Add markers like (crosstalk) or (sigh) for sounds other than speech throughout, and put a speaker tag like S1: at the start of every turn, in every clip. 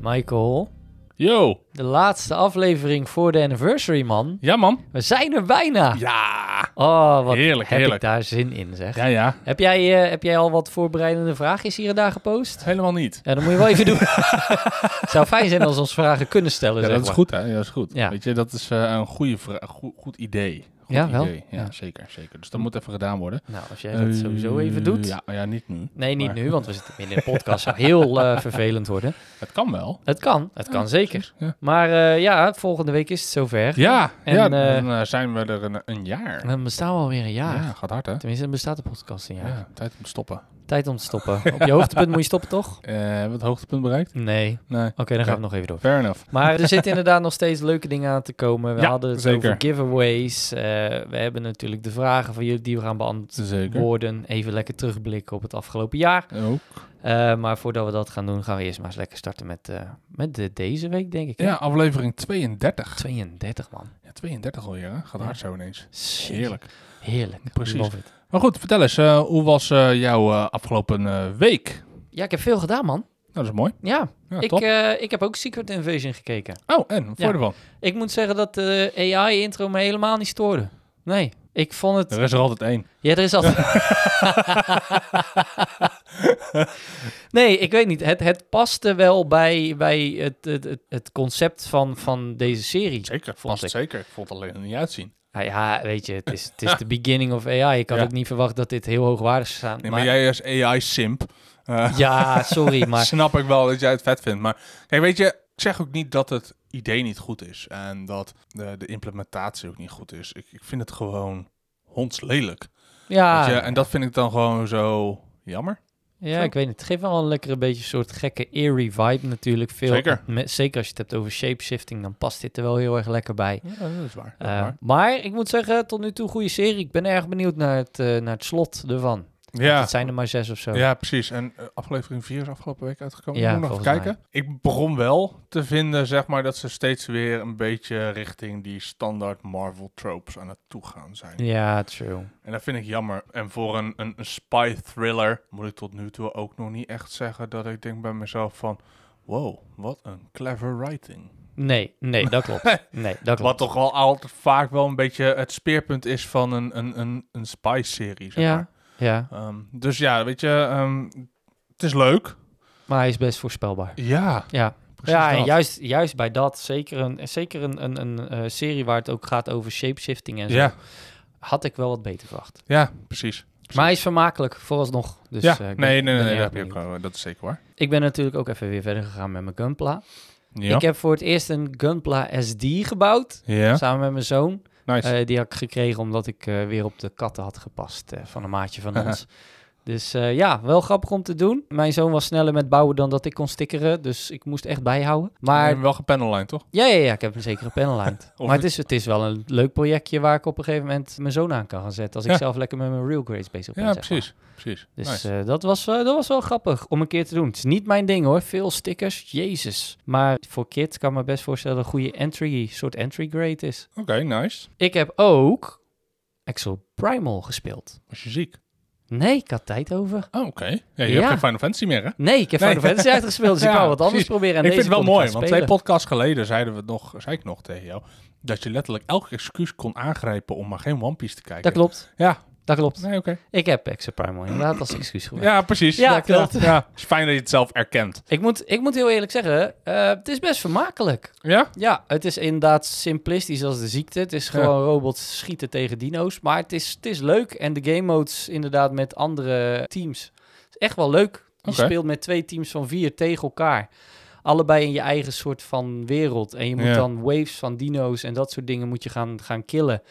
S1: Michael,
S2: Yo.
S1: de laatste aflevering voor de anniversary, man.
S2: Ja, man.
S1: We zijn er bijna.
S2: Ja.
S1: Oh, wat
S2: Heerlijk,
S1: heb
S2: heerlijk.
S1: ik daar zin in, zeg.
S2: Ja, ja.
S1: Heb, jij, eh, heb jij al wat voorbereidende vraagjes hier en daar gepost?
S2: Helemaal niet.
S1: Ja, dat moet je wel even
S2: (laughs)
S1: doen. Het zou fijn zijn als we ons vragen kunnen stellen,
S2: Ja,
S1: zeg
S2: dat is
S1: maar.
S2: goed, hè? Ja, dat is goed.
S1: Ja.
S2: Weet je, dat is eh, een goede vra- goed, goed idee. Goed
S1: Ja, wel.
S2: idee. Ja,
S1: Ja.
S2: zeker, zeker. Dus dat moet even gedaan worden.
S1: Nou, als jij dat sowieso even
S2: Eh,
S1: doet.
S2: Ja, ja niet nu.
S1: Nee, niet
S2: Maar-
S1: nu, want we zitten midden in de podcast. zou heel
S2: (laughs)
S1: eh, vervelend worden.
S2: Het kan wel.
S1: Het kan, het kan zeker.
S2: ja.
S1: Maar eh, ja, volgende week is het zover.
S2: Ja,
S1: En,
S2: ja
S1: eh,
S2: dan eh, zijn we er een, een jaar.
S1: En dan bestaan we alweer een jaar.
S2: Ja, gaat hard, hè?
S1: Tenminste, dan bestaat de podcast een
S2: Ja,
S1: jaar.
S2: tijd om te stoppen.
S1: Tijd om te stoppen. Op je hoogtepunt moet je stoppen, toch?
S2: Eh, hebben we het hoogtepunt bereikt?
S1: Nee. Oké,
S2: Nee.
S1: dan gaan we nog even door.
S2: Fair enough.
S1: Maar er zitten inderdaad nog steeds leuke dingen aan te komen. We
S2: Ja,
S1: hadden het
S2: zeker.
S1: over giveaways. Eh, we hebben natuurlijk de vragen van jullie die we gaan
S2: Zeker.
S1: beantwoorden. Even lekker terugblikken op het afgelopen jaar.
S2: Ook.
S1: Eh, maar voordat we dat gaan doen, gaan we eerst maar eens lekker starten met, eh, met de, deze week, denk ik. hè?
S2: Ja, aflevering 32.
S1: 32, man.
S2: Ja, 32 alweer, hè? Gaat
S1: Ja.
S2: hard zo ineens.
S1: Jezus,
S2: Heerlijk.
S1: Heerlijk.
S2: Precies.
S1: Love it.
S2: Maar goed, vertel eens, eh, hoe was eh, jouw eh, afgelopen eh, week?
S1: Ja, ik heb veel gedaan, man.
S2: Nou, dat is mooi.
S1: Ja,
S2: Ja,
S1: ik,
S2: top.
S1: eh, ik heb ook Secret Invasion gekeken.
S2: oh, en, wat
S1: ja.
S2: vond je ervan?
S1: Ik moet zeggen dat de AI-intro me helemaal niet stoorde. Nee, ik vond het...
S2: Er is er altijd één.
S1: Ja, er is altijd... (laughs) nee, ik weet niet. Het, het paste wel bij, bij het, het, het, het concept van, van deze serie.
S2: Zeker,
S1: vond ik.
S2: zeker. Ik vond het alleen er niet uitzien.
S1: Nou ja, weet je, het is, het is de beginning of AI. Ik had
S2: Ja.
S1: ook niet verwacht dat dit heel hoogwaardig zou staan.
S2: Nee, maar,
S1: maar-
S2: jij als AI-simp, eh,
S1: Ja,
S2: (laughs)
S1: sorry, (laughs) maar...
S2: snap ik wel dat jij het vet vindt. Maar kijk, weet je, ik zeg ook niet dat het idee niet goed is. En dat de, de implementatie ook niet goed is. Ik, ik vind het gewoon hondslelijk.
S1: Ja,
S2: Weet je, en dat vind ik dan gewoon zo jammer.
S1: ja
S2: Zo.
S1: ik weet niet. Het geeft wel een lekkere beetje een soort gekke eerie vibe natuurlijk. Veel,
S2: Zeker.
S1: me- zeker als je het hebt over shapeshifting, dan past dit er wel heel erg lekker bij.
S2: Ja, dat is waar.
S1: Eh, maar ik moet zeggen, tot nu toe goede serie. Ik ben erg benieuwd naar het, eh, naar het slot ervan.
S2: ja.
S1: Het zijn er maar zes of zo.
S2: Ja, precies. En eh, aflevering 4 is afgelopen week uitgekomen.
S1: Ja,
S2: Ja, nog even
S1: volgens
S2: kijken. Ik begon wel te vinden, zeg maar, dat ze steeds weer een beetje richting die standaard Marvel tropes aan het toegaan zijn.
S1: Ja, true.
S2: En dat vind ik jammer. En voor een, een, een spy thriller moet ik tot nu toe ook nog niet echt zeggen dat ik denk bij mezelf van, wow, wat een clever writing.
S1: Nee, nee, dat
S2: (laughs)
S1: klopt. Nee, dat klopt.
S2: Wat toch wel altijd vaak wel een beetje het speerpunt is van een, een, een, een spy-serie, zeg
S1: Ja,
S2: maar.
S1: ja,
S2: Ehm, dus ja, weet je, ehm, het is leuk.
S1: maar hij is best voorspelbaar.
S2: Ja,
S1: Ja,
S2: precies
S1: ja en
S2: dat.
S1: juist, juist bij dat, zeker een, zeker een, een, een eh, serie waar het ook gaat over shapeshifting en zo,
S2: Ja,
S1: had ik wel wat beter verwacht.
S2: ja, precies.
S1: Maar hij is vermakelijk, vooralsnog. Dus,
S2: ja,
S1: eh, ik ben-
S2: nee,
S1: ik
S2: nee,
S1: ben
S2: nee,
S1: erg
S2: dat, heb je
S1: benieuwd.
S2: ook, wel, dat is zeker waar.
S1: Ik ben natuurlijk ook even weer verder gegaan met mijn Gunpla.
S2: Ja,
S1: Ik heb voor het eerst een Gunpla SD gebouwd,
S2: ja.
S1: samen met mijn zoon.
S2: nice.
S1: Eh, die had ik gekregen omdat ik eh, weer op de katten had gepast eh, van een maatje van ons. Dus eh, ja, wel grappig om te doen. Mijn zoon was sneller met bouwen dan dat ik kon stickeren, dus ik moest echt bijhouden.
S2: maar...
S1: Maar
S2: wel gepanellijnd, toch?
S1: ja, ja, ja ik heb een zekere
S2: (laughs)
S1: panellijnd.
S2: Of-
S1: maar het is, het is wel een leuk projectje waar ik op een gegeven moment mijn zoon aan kan gaan zetten. Als ik
S2: Ja.
S1: zelf lekker met mijn real grades bezig ben.
S2: Ja,
S1: zeg maar.
S2: precies. precies.
S1: Dus
S2: nice.
S1: eh, dat, was, eh, dat was wel grappig om een keer te doen. Het is niet mijn ding hoor, veel stickers, jezus. Maar voor kids kan ik me best voorstellen dat een goede entry, soort entry grade is.
S2: Oké, nice.
S1: Ik heb ook Axel Primal gespeeld.
S2: Was je ziek?
S1: Nee, ik had tijd over.
S2: Oh, oké. Ja, je
S1: Ja.
S2: hebt geen Final Fantasy meer, hè?
S1: Nee, ik heb
S2: Nee.
S1: Final Fantasy uitgespeeld, dus ik
S2: (laughs) Ja,
S1: wou wat anders
S2: precies.
S1: proberen. En
S2: ik vind
S1: deze
S2: het wel
S1: kon
S2: mooi,
S1: gaan
S2: want twee
S1: spelen.
S2: podcasts geleden zeiden we het nog, zei ik nog tegen jou, dat je letterlijk elk excuus kon aangrijpen om maar geen One Piece te kijken.
S1: Dat klopt,
S2: Ja,
S1: dat klopt.
S2: nee, oké.
S1: Ik heb Axel Primal inderdaad als
S2: (laughs)
S1: excuus gebruikt.
S2: Ja, precies.
S1: Ja,
S2: Dat, eh,
S1: klopt.
S2: Ja, is fijn dat je het zelf erkent.
S1: Ik, moet, ik moet heel eerlijk zeggen, eh, het is best vermakelijk.
S2: Ja?
S1: Ja, het is inderdaad simplistisch als de ziekte. Het is
S2: Ja.
S1: gewoon robots schieten tegen dino's. Maar het is, het is leuk. En de game modes inderdaad met andere teams. Het is echt wel leuk. Je
S2: Oké.
S1: speelt met twee teams van vier tegen elkaar. Allebei in je eigen soort van wereld. En je moet
S2: Ja.
S1: dan waves van dino's en dat soort dingen moet je gaan, gaan killen.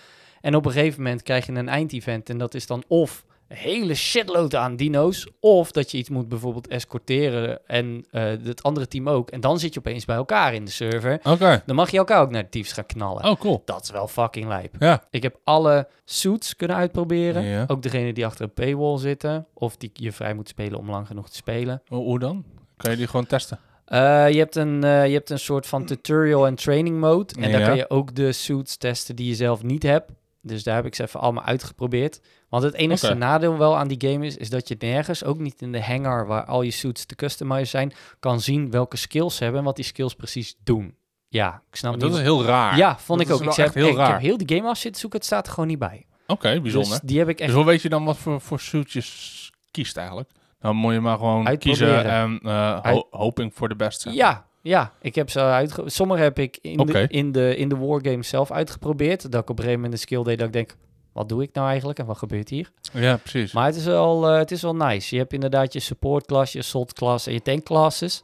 S1: En op een gegeven moment krijg je een eindevent. En dat is dan of een hele shitload aan dino's. Of dat je iets moet bijvoorbeeld escorteren. En eh, het andere team ook. En dan zit je opeens bij elkaar in de server.
S2: Oké.
S1: Dan mag je elkaar ook naar de diefs gaan knallen.
S2: Oh, cool.
S1: Dat is wel fucking lijp.
S2: Ja.
S1: Ik heb alle suits kunnen uitproberen.
S2: Ja.
S1: Ook degene die achter een paywall zitten. Of die je vrij moet spelen om lang genoeg te spelen.
S2: Hoe hoe dan? Kan je die gewoon testen?
S1: Eh, je, hebt een, eh, je hebt een soort van tutorial en training mode. En daar
S2: Ja.
S1: kan je ook de suits testen die je zelf niet hebt. Dus daar heb ik ze even allemaal uitgeprobeerd. Want het enige
S2: Oké.
S1: nadeel wel aan die game is, is dat je nergens, ook niet in de hangar waar al je suits te customizen zijn, kan zien welke skills ze hebben en wat die skills precies doen. Ja, ik snap
S2: Maar
S1: niet.
S2: dat is heel raar.
S1: ja, vond ik
S2: dat is
S1: ook. Ik,
S2: wel
S1: zei,
S2: echt heel
S1: ik heb
S2: raar.
S1: heel die game af zitten zoeken, het staat er gewoon niet bij.
S2: Oké, bijzonder.
S1: Dus die heb ik echt
S2: Dus hoe weet je dan wat voor, voor suitjes kiest eigenlijk? Dan moet je maar gewoon
S1: Uitproberen.
S2: kiezen en eh, ho-
S1: Uit-
S2: hoping for the best. zeg maar.
S1: Ja, ja. Ik heb ze uitge... Sommige heb ik in,
S2: Oké.
S1: de, in, de, in de wargame zelf uitgeprobeerd. Dat ik op een gegeven moment een skill deed dat ik denk... Wat doe ik nou eigenlijk en wat gebeurt hier?
S2: ja precies.
S1: Maar het is wel, eh, het is wel nice. Je hebt inderdaad je support class, je assault class en je tank classes.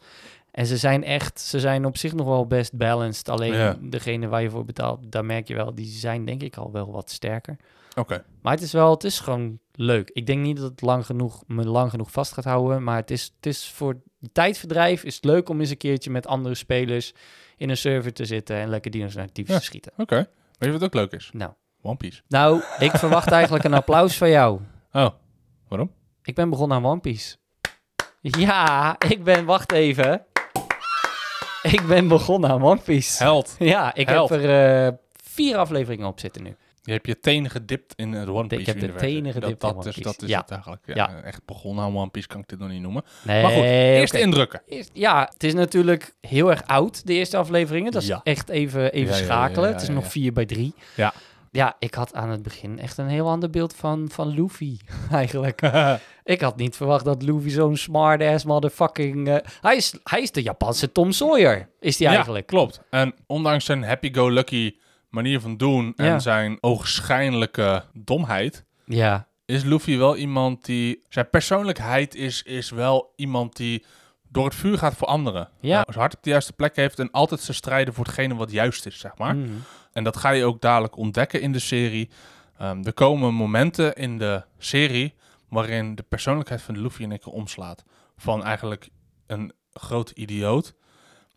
S1: En ze zijn echt, ze zijn op zich nog wel best balanced. Alleen
S2: Ja.
S1: degene waar je voor betaalt, daar merk je wel, die zijn denk ik al wel wat sterker.
S2: Oké,
S1: Maar het is wel, het is gewoon leuk. Ik denk niet dat het lang genoeg, me lang genoeg vast gaat houden. Maar het is, het is voor tijdverdrijf is het leuk om eens een keertje met andere spelers in een server te zitten en lekker dino's naar het diepste
S2: Ja.
S1: te schieten.
S2: oké. Weet je wat ook leuk is?
S1: Nou.
S2: One Piece.
S1: Nou, ik verwacht eigenlijk een applaus van jou.
S2: Oh, waarom?
S1: Ik ben begonnen aan One Piece. Ja, ik ben, wacht even. Ik ben begonnen aan One Piece.
S2: Held.
S1: Ja, ik
S2: Held.
S1: heb er eh, vier afleveringen op zitten nu.
S2: Je hebt je tenen gedipt in het One Piece
S1: heb de
S2: universum.
S1: tenen gedipt
S2: dat,
S1: in
S2: dat
S1: One
S2: is,
S1: Piece.
S2: Dat is
S1: Ja.
S2: het eigenlijk. Ja,
S1: Ja.
S2: Echt begonnen aan One Piece kan ik dit nog niet noemen.
S1: Nee,
S2: maar goed, eerste
S1: oké. (laughs)
S2: indrukken.
S1: Eerst- Ja, het is natuurlijk heel erg oud, de eerste afleveringen. Dat is
S2: Ja.
S1: echt even, even
S2: Ja, ja, ja,
S1: schakelen.
S2: ja,
S1: het is
S2: ja,
S1: nog
S2: ja.
S1: 4 bij 3.
S2: Ja.
S1: Ja, ik had aan het begin echt een heel ander beeld van, van Luffy, (laughs) eigenlijk. ik had niet verwacht dat Luffy zo'n smart-ass motherfucking... eh, hij, is, hij is de Japanse Tom Sawyer, is hij eigenlijk.
S2: Klopt. En ondanks zijn happy-go-lucky manier van doen en
S1: Ja.
S2: zijn oogschijnlijke domheid,
S1: Ja,
S2: is Luffy wel iemand die... Zijn persoonlijkheid is, is wel iemand die door het vuur gaat voor anderen.
S1: Ja.
S2: Eh, zijn hart op de juiste plek heeft en altijd zijn strijden voor hetgene wat juist is, zeg maar.
S1: Mm.
S2: En dat ga je ook dadelijk ontdekken in de serie. Ehm, er komen momenten in de serie waarin de persoonlijkheid van Luffy en ik omslaat. Van eigenlijk een grote idioot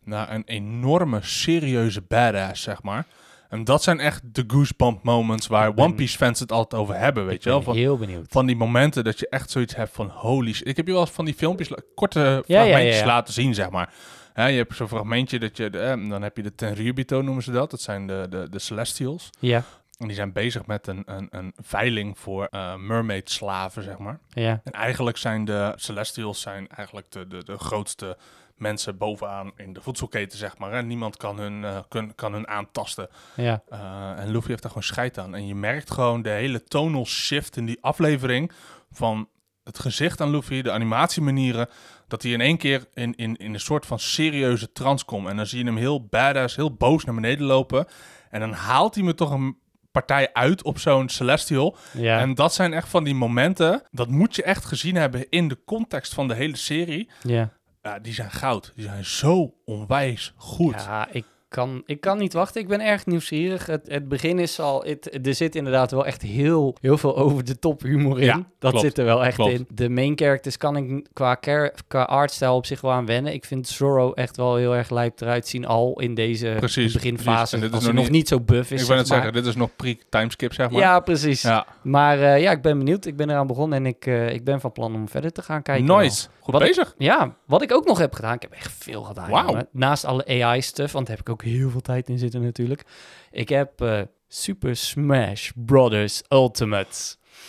S2: naar een enorme, serieuze badass, zeg maar. En dat zijn echt de goosebump moments waar
S1: Ik ben-
S2: One Piece fans het altijd over hebben, weet
S1: ik
S2: je wel?
S1: ben
S2: Van,
S1: heel benieuwd.
S2: van die momenten dat je echt zoiets hebt van holy shit. Ik heb je wel eens van die filmpjes, la- korte
S1: ja,
S2: fragmentjes
S1: ja.
S2: laten zien, zeg maar. Hè, je hebt zo'n fragmentje dat je, de- eh, dan heb je de Tenryubito noemen ze dat. Dat zijn de, de, de Celestials.
S1: Ja,
S2: En die zijn bezig met een, een, een veiling voor eh mermaid slaven, zeg maar.
S1: ja.
S2: En eigenlijk zijn de Celestials zijn eigenlijk de, de, de grootste mensen bovenaan in de voedselketen, zeg maar. En niemand kan hun, eh, kun- kan hun aantasten.
S1: Ja,
S2: Eh, en Luffy heeft daar gewoon scheid aan. En je merkt gewoon de hele tonal shift in die aflevering. Van het gezicht aan Luffy, de animatiemanieren. Dat hij in één keer in, in, in een soort van serieuze trance komt. En dan zie je hem heel badass, heel boos naar beneden lopen. En dan haalt hij me toch een partij uit op zo'n Celestial.
S1: ja.
S2: En dat zijn echt van die momenten. Dat moet je echt gezien hebben in de context van de hele serie.
S1: ja.
S2: Ja, die zijn goud. Die zijn zo onwijs goed.
S1: Ja, ik kan, ik kan niet wachten. Ik ben erg nieuwsgierig. Het, het begin is al... Het, er zit inderdaad wel echt heel, heel veel over de top humor in.
S2: Ja,
S1: dat
S2: klopt,
S1: zit er wel echt
S2: klopt.
S1: in. De main characters kan ik qua, char- qua artstijl op zich wel aan wennen. Ik vind Zorro echt wel heel erg lijp eruit zien al in deze
S2: Precies, precies.
S1: beginfase.
S2: En dit is
S1: Als hij
S2: nog
S1: nog
S2: niet-
S1: niet zo buff is,
S2: ik wil het
S1: zeg maar.
S2: zeggen, dit is nog pre-timeskip, zeg maar.
S1: Ja, precies.
S2: ja.
S1: Maar eh, ja, ik ben benieuwd. Ik ben eraan begonnen en ik, eh, ik ben van plan om verder te gaan kijken. wel.
S2: Nice. Goed
S1: Wat ik-
S2: bezig.
S1: Ja, wat ik ook nog heb gedaan, ik heb echt veel gedaan.
S2: Wauw.
S1: jongen. Naast alle AI-stuff, want daar heb ik ook heel veel tijd in zitten natuurlijk. Ik heb eh, Super Smash Brothers Ultimate.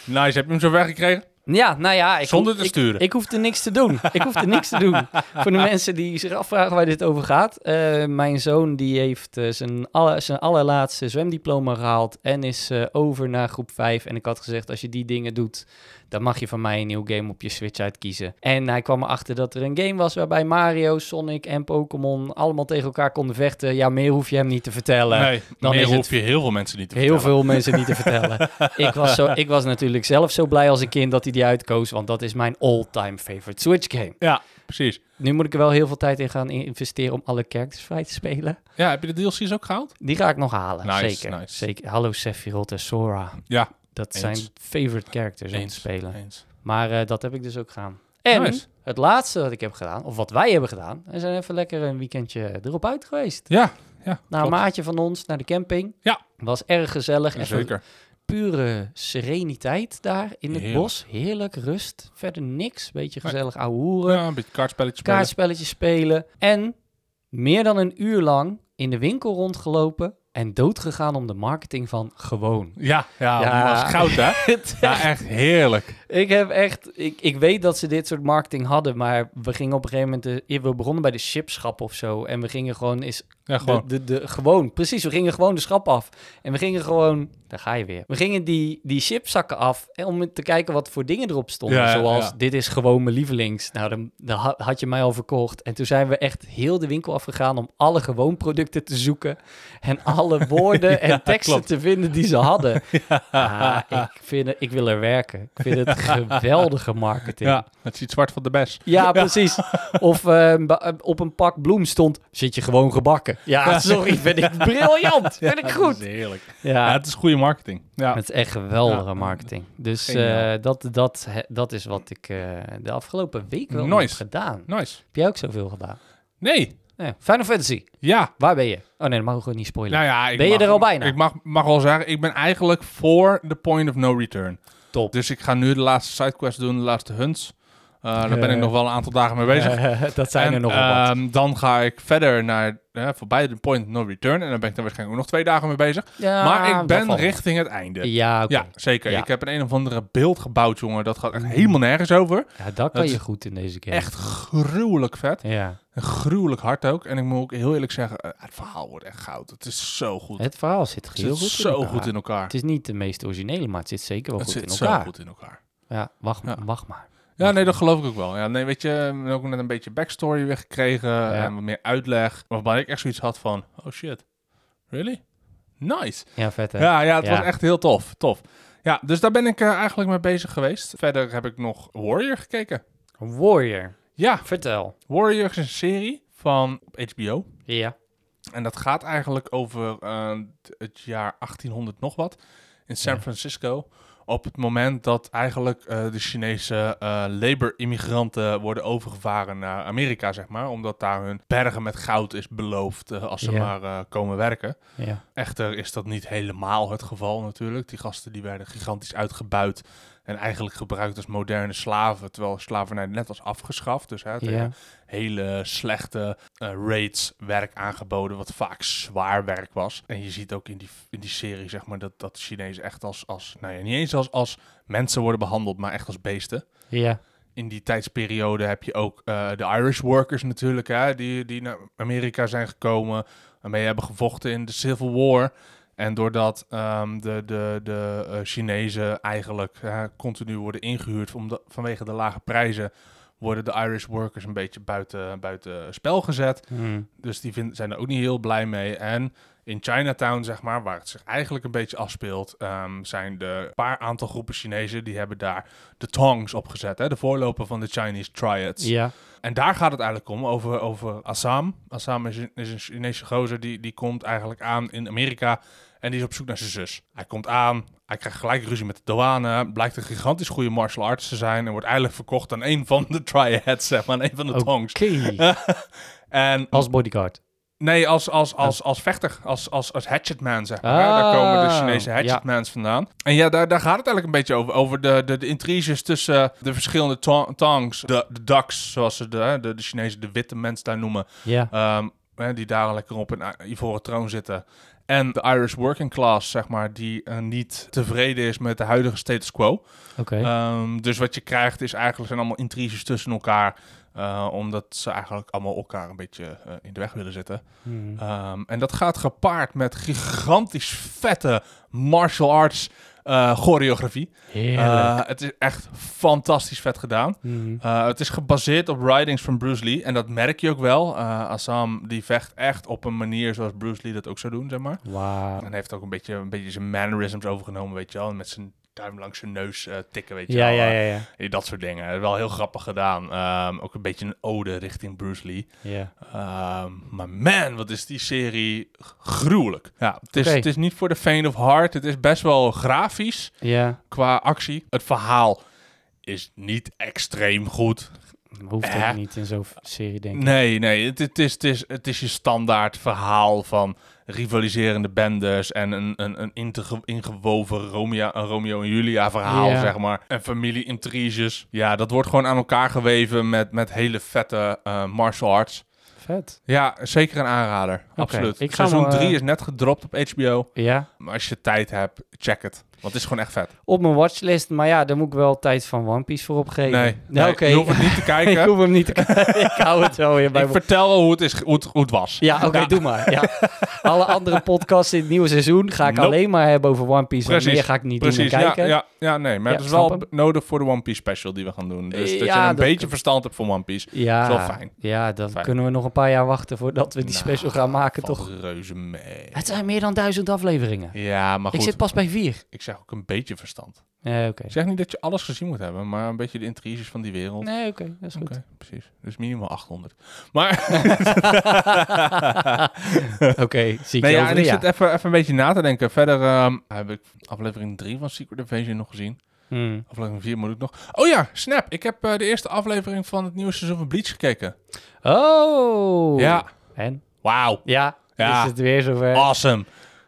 S2: Nice. Heb je hem zo weggekregen?
S1: Ja, nou ja, ik,
S2: Zonder te
S1: ik,
S2: sturen.
S1: ik hoefde niks te doen. Ik hoefde niks te doen. Voor
S2: (laughs)
S1: de mensen die zich afvragen waar dit over gaat. eh, mijn zoon die heeft eh, zijn, alle, zijn allerlaatste zwemdiploma gehaald. En is eh, over naar groep 5. En ik had gezegd, als je die dingen doet, dan mag je van mij een nieuw game op je Switch uitkiezen. En hij kwam erachter dat er een game was waarbij Mario, Sonic en Pokémon allemaal tegen elkaar konden vechten. Ja, meer hoef je hem niet te vertellen
S2: nee,
S1: dan
S2: meer
S1: is het
S2: hoef je heel veel mensen niet te
S1: heel
S2: vertellen.
S1: veel mensen niet te
S2: (laughs)
S1: vertellen. ik, was zo, ik was natuurlijk zelf zo blij als een kind dat hij die uitkoos, want dat is mijn all-time favorite Switch game.
S2: Ja, precies.
S1: Nu moet ik er wel heel veel tijd in gaan in- investeren om alle characters vrij te spelen.
S2: Ja, heb je de DLC's ook gehaald?
S1: Die ga ik nog halen,
S2: Nice,
S1: zeker.
S2: nice.
S1: zeker. Hallo Sephiroth en Sora.
S2: Ja.
S1: Dat
S2: Eens.
S1: zijn favorite characters om te
S2: Eens.
S1: spelen.
S2: Eens.
S1: Maar eh, dat heb ik dus ook gedaan. En
S2: Nice.
S1: het laatste wat ik heb gedaan, of wat wij hebben gedaan, we zijn even lekker een weekendje erop uit geweest.
S2: Ja, ja.
S1: Naar een
S2: klopt.
S1: maatje van ons, naar de camping.
S2: Ja.
S1: Was erg gezellig. Even
S2: Zeker.
S1: pure sereniteit daar in het
S2: Heerlijk.
S1: bos. Heerlijk rust. Verder niks. Beetje
S2: Nee.
S1: gezellig ouwe hoeren.
S2: Ja, een beetje kaartspelletje spelen.
S1: Kaartspelletjes spelen. En meer dan een uur lang in de winkel rondgelopen. en doodgegaan om de marketing van gewoon.
S2: Ja, ja,
S1: Ja.
S2: die was goud, hè?
S1: (laughs)
S2: Ja, echt heerlijk.
S1: ik heb echt, ik, ik weet dat ze dit soort marketing hadden, maar we gingen op een gegeven moment, de, we begonnen bij de chipschap of zo en we gingen gewoon eens
S2: Ja, gewoon.
S1: De, de, de, gewoon, precies. We gingen gewoon de schap af. En we gingen gewoon, daar ga je weer. We gingen die, die chipzakken af en om te kijken wat voor dingen erop stonden.
S2: Ja, ja,
S1: Zoals,
S2: ja.
S1: dit is gewoon mijn lievelings. Nou, dan, dan ha- had je mij al verkocht. En toen zijn we echt heel de winkel afgegaan om alle gewoon producten te zoeken. En
S2: (laughs)
S1: alle woorden en teksten
S2: klopt.
S1: te vinden die ze
S2: (laughs)
S1: hadden. Ah, ik, vind het, ik wil er werken. Ik vind
S2: (laughs)
S1: het geweldige marketing.
S2: Ja, het ziet zwart van de bes.
S1: Ja, precies. Of eh, ba- eh, op een pak bloem stond, zit je gewoon gebakken. Ja, sorry, ben
S2: (laughs)
S1: ik briljant. Ben ik
S2: Dat
S1: goed.
S2: is heerlijk. Ja,
S1: Ja,
S2: het is goede marketing. Ja.
S1: het is echt geweldige
S2: Ja.
S1: marketing. Dus
S2: Geniaal.
S1: eh, dat, dat, he- dat is wat ik eh, de afgelopen week wel
S2: Nice.
S1: heb gedaan.
S2: Nice.
S1: Heb jij ook zoveel gedaan?
S2: Nee.
S1: Ja. Final Fantasy,
S2: Ja.
S1: waar ben je? Oh nee, dat mag ik gewoon niet spoilen.
S2: Nou ja, ik
S1: Ben je
S2: mag-
S1: er al bijna?
S2: Ik mag, mag wel zeggen, ik ben eigenlijk voor de point of no return.
S1: Top.
S2: Dus ik ga nu de laatste sidequest doen, de laatste hunts. Eh daar ben ik
S1: Eh.
S2: nog wel een aantal dagen mee bezig.
S1: Eh, (laughs) dat zijn
S2: En,
S1: er nogal wat.
S2: ehm, Dan ga ik verder naar eh, voorbij de point of no return. En dan ben ik daar waarschijnlijk ook nog twee dagen mee bezig.
S1: Ja,
S2: maar ik
S1: dat
S2: ben
S1: valt.
S2: richting het einde.
S1: Ah, Ja, oké.
S2: Ja, zeker.
S1: Ja.
S2: Ik heb een, een of andere beeld gebouwd, jongen. Dat gaat echt helemaal nergens over.
S1: Ja, dat kan
S2: Het-
S1: je goed in deze game.
S2: Echt gruwelijk vet.
S1: Ja.
S2: En gruwelijk hard ook. En ik moet ook heel eerlijk zeggen, eh, het verhaal wordt echt goud. Het is zo goed. Het
S1: Het verhaal zit
S2: zit
S1: heel goed in
S2: zo
S1: elkaar.
S2: goed in elkaar.
S1: Het is niet de meest originele, maar het zit zeker wel
S2: Het
S1: goed
S2: zit
S1: in
S2: zo
S1: elkaar.
S2: goed in elkaar.
S1: Ja, wacht,
S2: Ja.
S1: wacht maar.
S2: Ja, nee, dat geloof ik ook wel. Ja, nee, weet je, we hebben ook net een beetje backstory weer gekregen en wat meer uitleg. Waarbij ik echt zoiets had van, oh shit, really? Nice.
S1: Ja, vet hè?
S2: Ja, ja, het
S1: Ja.
S2: was echt heel tof, tof. Ja, dus daar ben ik eh, eigenlijk mee bezig geweest. Verder heb ik nog Warrior gekeken.
S1: Warrior,
S2: Ja,
S1: vertel.
S2: Warrior is een serie van HBO.
S1: Ja.
S2: En dat gaat eigenlijk over eh, t- het jaar 1800 nog wat in San
S1: Ja.
S2: Francisco. Op het moment dat eigenlijk eh, de Chinese eh labor-immigranten worden overgevaren naar Amerika, zeg maar. Omdat daar hun bergen met goud is beloofd eh, als ze
S1: Ja.
S2: maar eh, komen werken.
S1: ja.
S2: Echter is dat niet helemaal het geval natuurlijk. Die gasten die werden gigantisch uitgebuit en eigenlijk gebruikt als moderne slaven. Terwijl slavernij net was afgeschaft. Dus hè, tegen
S1: Ja.
S2: hele slechte eh, rates werk aangeboden, wat vaak zwaar werk was. En je ziet ook in die, in die serie, zeg maar, dat, dat Chinezen echt als, als, nou ja, niet eens als, als mensen worden behandeld, maar echt als beesten.
S1: Ja.
S2: In die tijdsperiode heb je ook eh, de Irish workers natuurlijk, hè, die, die naar Amerika zijn gekomen, waarmee hebben gevochten in de Civil War. En doordat ehm, de, de, de eh, Chinezen eigenlijk hè, continu worden ingehuurd om de- vanwege de lage prijzen, worden de Irish workers een beetje buiten, buiten spel gezet.
S1: Hmm.
S2: Dus die vind- zijn er ook niet heel blij mee. En in Chinatown, zeg maar, waar het zich eigenlijk een beetje afspeelt, ehm, zijn de paar aantal groepen Chinezen die hebben daar de Tongs opgezet. Hè? De voorloper van de Chinese Triads.
S1: Ja.
S2: En daar gaat het eigenlijk om, over, over Assam. Assam is een, is een Chinese gozer die, die komt eigenlijk aan in Amerika en die is op zoek naar zijn zus. Hij komt aan, hij krijgt gelijk ruzie met de douane, blijkt een gigantisch goede martial arts te zijn en wordt eigenlijk verkocht aan een van de Triads, (laughs) zeg maar, aan een van de
S1: Oké.
S2: Tongs. (laughs) En
S1: Als bodyguard.
S2: Nee, als, als, als, als vechter, als, als, als hatchetman, zeg maar. hè. Daar
S1: Ah,
S2: komen de Chinese
S1: ja.
S2: hatchetmans vandaan. En ja, daar, daar gaat het eigenlijk een beetje over. Over de, de, de intriges tussen de verschillende to- tongs. De, de ducks, zoals ze de, hè, de, de Chinezen de witte mensen daar noemen.
S1: Ja.
S2: Ehm, hè, die daar lekker op een i- ivoren troon zitten. En de Irish working class, zeg maar, die eh, niet tevreden is met de huidige status quo.
S1: Oké.
S2: Ehm, dus wat je krijgt is eigenlijk zijn allemaal intriges tussen elkaar. eh, omdat ze eigenlijk allemaal elkaar een beetje eh, in de weg willen zitten.
S1: Hmm.
S2: Ehm, en dat gaat gepaard met gigantisch vette martial arts eh, choreografie.
S1: Heerlijk.
S2: Eh, het is echt fantastisch vet gedaan.
S1: Hmm.
S2: Eh, het is gebaseerd op writings van Bruce Lee. En dat merk je ook wel. Eh Assam die vecht echt op een manier zoals Bruce Lee dat ook zou doen, zeg maar.
S1: Wauw.
S2: En hij heeft ook een beetje, een beetje zijn mannerisms overgenomen, weet je wel. En Met zijn duim langs zijn neus eh, tikken, weet je
S1: Ja,
S2: wel.
S1: ja, ja, ja.
S2: Eh, dat soort dingen. Wel heel grappig gedaan. Ehm, ook een beetje een ode richting Bruce Lee.
S1: Ja.
S2: Ehm, maar man, wat is die serie g- gruwelijk. Ja, het, is,
S1: Oké.
S2: het is niet voor de faint of heart. Het is best wel grafisch
S1: Ja.
S2: qua actie. Het verhaal is niet extreem goed.
S1: Hoeft ook
S2: Eh.
S1: niet in zo'n f- serie, denk ik.
S2: Nee, nee. Het, het, is, het, is, het is je standaard verhaal van rivaliserende bendes en een, een, een interge- ingewoven Romeo, een Romeo en Julia verhaal,
S1: Ja.
S2: zeg maar. En familie-intriges. Ja, dat wordt gewoon aan elkaar geweven met, met hele vette eh, martial arts.
S1: Vet.
S2: Ja, zeker een aanrader. Absoluut.
S1: ik ga
S2: Seizoen
S1: hem, eh,
S2: 3 is net gedropt op HBO.
S1: Ja.
S2: Maar als je tijd hebt, check het. Want het is gewoon echt vet.
S1: Op mijn watchlist, maar ja, daar moet ik wel tijd van One Piece voor opgeven.
S2: Nee, nee,
S1: oké.
S2: je hoeft het niet
S1: (laughs)
S2: te
S1: ik
S2: kijken.
S1: hoef hem niet te kijken. ik hou het wel weer bij
S2: (laughs) ik
S1: me.
S2: vertel al hoe het, is, hoe het, hoe het was.
S1: Ja, oké, doe maar. Ja. Alle andere podcasts in het nieuwe seizoen ga ik
S2: Nope.
S1: alleen maar hebben over One Piece. want
S2: Precies,
S1: meer ga ik niet
S2: Precies,
S1: doen en
S2: ja,
S1: kijken.
S2: ja, ja, nee. Maar
S1: Ja,
S2: het is
S1: snap
S2: wel
S1: hem.
S2: b- nodig voor de One Piece special die we gaan doen. Dus
S1: Eh,
S2: dat
S1: ja,
S2: je een
S1: dat-
S2: beetje verstand hebt van One Piece.
S1: Ja,
S2: is wel fijn.
S1: Ja, dan
S2: Fijn. Nou,
S1: kunnen we nog een paar jaar wachten voordat we die special gaan maken,
S2: Valt
S1: toch?
S2: reuze mee.
S1: Het zijn meer dan duizend afleveringen.
S2: Ja, maar
S1: ik
S2: goed.
S1: zit pas bij vier.
S2: Ik zeg ook een beetje verstand.
S1: Nee, oké.
S2: Ik zeg niet dat je alles gezien moet hebben, maar een beetje de intriges van die wereld.
S1: Nee, oké, dat is goed.
S2: Oké, precies. Dus minimaal 800. Maar
S1: (laughs) oké, zie ik
S2: nee,
S1: je
S2: ja,
S1: over
S2: en
S1: een
S2: ik
S1: jaar.
S2: zit even, even een beetje na te denken. Verder ehm, heb ik aflevering 3 van Secret Invasion nog gezien.
S1: Hmm.
S2: Aflevering 4 moet ik nog. Oh ja, Snap. Ik heb eh, de eerste aflevering van het nieuwe seizoen van Bleach gekeken.
S1: Oh!
S2: Ja.
S1: En?
S2: Wauw.
S1: Ja,
S2: Ja. Ah.
S1: is het weer zover.
S2: Awesome.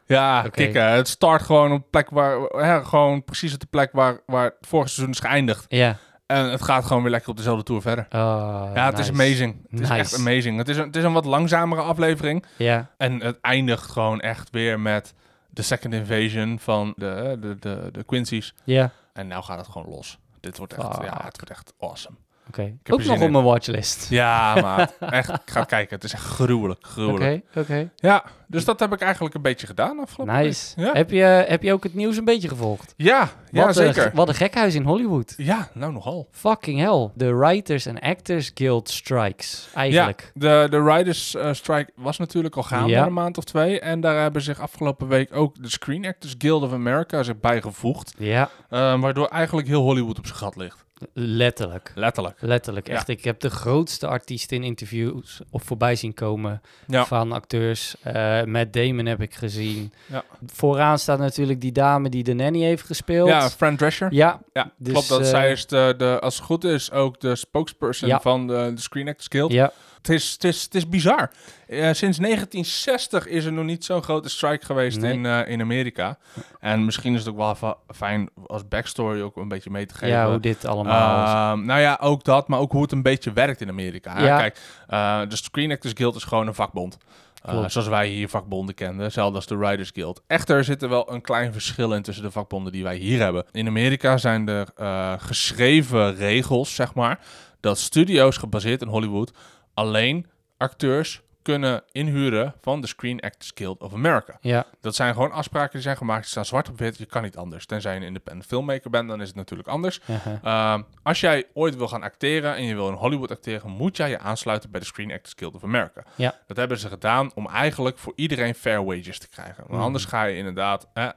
S2: Ja,
S1: Oké.
S2: kicken. Het start gewoon op de plek waar, hè, gewoon precies op de plek waar, waar het vorige seizoen is geëindigd.
S1: Ja.
S2: En het gaat gewoon weer lekker op dezelfde tour verder.
S1: Oh,
S2: Ja, het is
S1: nice.
S2: amazing. Het is
S1: Nice.
S2: echt amazing. Het is, een, het is een wat langzamere aflevering.
S1: Ja,
S2: En het eindigt gewoon echt weer met de second invasion van de, de, de, de Quincy's.
S1: ja.
S2: En nou gaat het gewoon los. Dit wordt echt,
S1: Fuck.
S2: ja, het wordt echt awesome.
S1: Oké.
S2: heb
S1: Ook
S2: er
S1: nog
S2: zin
S1: op
S2: in.
S1: mijn watchlist.
S2: (laughs) Ja, maar echt, ik ga het kijken. Het is echt gruwelijk,
S1: Oké,
S2: gruwelijk.
S1: oké.
S2: Ja, dus dat heb ik eigenlijk een beetje gedaan afgelopen
S1: Nice.
S2: week. Ja,
S1: Heb, je, heb je ook het nieuws een beetje gevolgd?
S2: ja, ja
S1: wat
S2: zeker.
S1: Een, wat een gekhuis in Hollywood.
S2: Ja, nou nogal.
S1: Fucking hell. De Writers and Actors Guild strikes, eigenlijk.
S2: Ja, de, de Riders eh, Strike was natuurlijk al gaande
S1: Ja.
S2: een maand of twee. En daar hebben zich afgelopen week ook de Screen Actors Guild of America zich bijgevoegd.
S1: Ja,
S2: eh, waardoor eigenlijk heel Hollywood op zijn gat ligt.
S1: letterlijk.
S2: Letterlijk.
S1: Letterlijk,
S2: Ja.
S1: echt. Ik heb de grootste artiesten in interviews of voorbij zien komen
S2: Ja.
S1: van acteurs. Eh Matt Damon heb ik gezien.
S2: Ja.
S1: Vooraan staat natuurlijk die dame die de nanny heeft gespeeld.
S2: Ja, Fran Drescher. Ja.
S1: ja, dus,
S2: klopt dat.
S1: eh,
S2: Zij is, de, de, als het goed is, ook de spokesperson
S1: Ja.
S2: van de, de Screen Actors Guild.
S1: ja.
S2: Het is, het is, het is bizar. Eh, sinds 1960 is er nog niet zo'n grote strike geweest
S1: Nee.
S2: in, eh, in Amerika. En misschien is het ook wel fa- fijn als backstory ook een beetje mee te geven.
S1: ja, hoe dit allemaal is.
S2: Ehm, nou ja, ook dat, maar ook hoe het een beetje werkt in Amerika. hè.
S1: Ja.
S2: Kijk, eh, de Screen Actors Guild is gewoon een vakbond. Eh,
S1: Klopt.
S2: zoals wij hier vakbonden kenden, zelfs als de Riders Guild. Echter zit er wel een klein verschil in tussen de vakbonden die wij hier hebben. In Amerika zijn er eh, geschreven regels, zeg maar, dat studio's gebaseerd in Hollywood alleen acteurs kunnen inhuren van de Screen Actors Guild of America.
S1: Ja, (laughs)
S2: Dat zijn gewoon afspraken die zijn gemaakt, die staan zwart op wit, je kan niet anders. Tenzij je een independent filmmaker bent, dan is het natuurlijk anders.
S1: aha.
S2: Ehm, als jij ooit wil gaan acteren en je wil in Hollywood acteren, moet jij je aansluiten bij de Screen Actors Guild of America.
S1: Ja.
S2: Dat hebben ze gedaan om eigenlijk voor iedereen fair wages te krijgen. Want
S1: Mhm.
S2: anders ga je inderdaad, eh,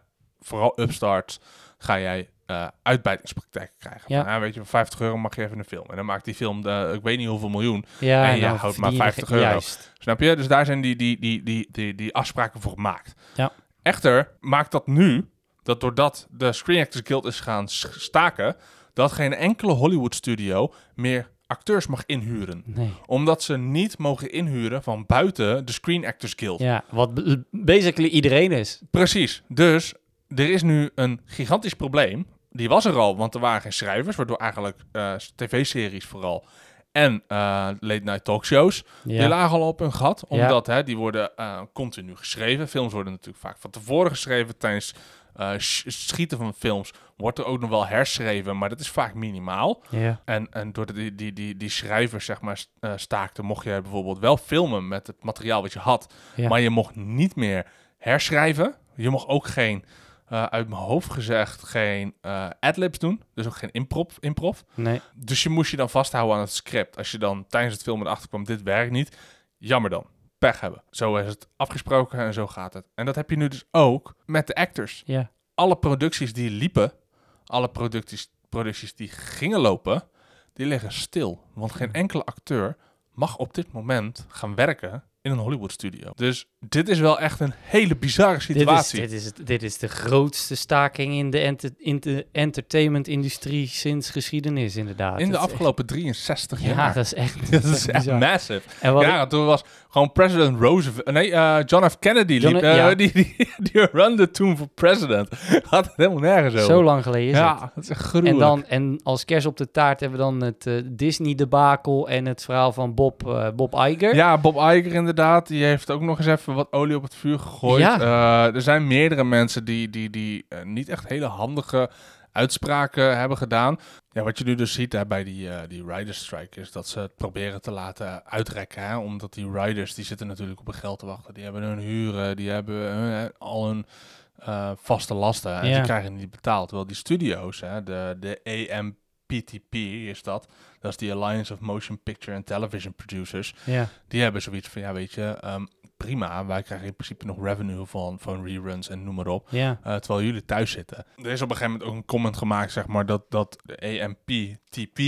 S2: vooral upstarts, ga jij eh uitbuitingspraktijken krijgen.
S1: Ja.
S2: Van, eh, weet je, voor 50 euro mag je even een film. En dan maakt die film, de, ik weet niet hoeveel miljoen.
S1: ja
S2: en je
S1: nou,
S2: houdt
S1: verdien
S2: maar
S1: je
S2: 50
S1: ge-
S2: euro.
S1: Juist.
S2: Snap je? Dus daar zijn die, die, die, die, die, die afspraken voor gemaakt.
S1: Ja.
S2: Echter, maakt dat nu, dat doordat de Screen Actors Guild is gaan s- staken, dat geen enkele Hollywood studio meer acteurs mag inhuren.
S1: Nee.
S2: Omdat ze niet mogen inhuren van buiten de Screen Actors Guild.
S1: Ja, wat b- basically iedereen is.
S2: Precies. Dus er is nu een gigantisch probleem. Die was er al, want er waren geen schrijvers, waardoor eigenlijk eh, tv-series vooral en eh, late night talkshows die
S1: Ja,
S2: lagen al op hun gat,
S1: Ja.
S2: omdat hè, die worden eh, continu geschreven. Films worden natuurlijk vaak van tevoren geschreven. Tijdens eh, sch- schieten van films wordt er ook nog wel herschreven, maar dat is vaak minimaal.
S1: ja.
S2: En, en door die, die, die, die schrijvers zeg maar, st- eh, staakten, mocht je bijvoorbeeld wel filmen met het materiaal wat je had,
S1: Ja.
S2: maar je mocht niet meer herschrijven. Je mocht ook geen, eh, uit mijn hoofd gezegd, geen eh adlibs doen, dus ook geen improv. improv.
S1: Nee.
S2: Dus je moest je dan vasthouden aan het script. Als je dan tijdens het filmen erachter kwam, dit werkt niet, jammer dan. Pech hebben. Zo is het afgesproken en zo gaat het. En dat heb je nu dus ook met de actors.
S1: Ja.
S2: Alle producties die liepen, alle producties, producties die gingen lopen, die liggen stil. Want geen enkele acteur mag op dit moment gaan werken in een Hollywood studio. Dus dit is wel echt een hele bizarre
S1: Dit is,
S2: situatie.
S1: dit, is, het- dit is de grootste staking in de, enter- in de entertainment-industrie sinds geschiedenis, inderdaad.
S2: In de
S1: Dat is echt-
S2: afgelopen 63
S1: Ja,
S2: jaar. (laughs)
S1: dat is echt,
S2: Dat is echt
S1: bizar.
S2: massive.
S1: En wat ik-
S2: ja, toen was gewoon president Roosevelt. Nee, eh, John F. Kennedy liep.
S1: John-
S2: eh,
S1: ja.
S2: (laughs) die, die, die runde toen voor president. (laughs) Had het helemaal nergens over.
S1: zo lang geleden is het.
S2: ja, dat is echt gruwelijk.
S1: En, dan, en als kerst op de taart hebben we dan het eh, Disney-debakel en het verhaal van Bob, eh, Bob Iger.
S2: Ja, Bob Iger inderdaad. Die heeft ook nog eens even wat olie op het vuur gegooid.
S1: Ja.
S2: Eh, er zijn meerdere mensen die, die, die eh, niet echt hele handige uitspraken hebben gedaan. Ja, wat je nu dus ziet hè, bij die, eh, die riders strike is dat ze het proberen te laten uitrekken. Hè? Omdat die riders, die zitten natuurlijk op hun geld te wachten. Die hebben hun huren, die hebben hun, eh, al hun eh, vaste lasten. En
S1: Ja.
S2: die krijgen niet betaald. Terwijl die studio's, hè, de, de AMPTP is dat. Dat is die Alliance of Motion Picture and Television Producers.
S1: Ja.
S2: Die hebben zoiets van, ja weet je, ehm, prima, wij krijgen in principe nog revenue van, van reruns en noem maar op.
S1: ja.
S2: eh, terwijl jullie thuis zitten. Er is op een gegeven moment ook een comment gemaakt, zeg maar, dat, dat de AMPTP,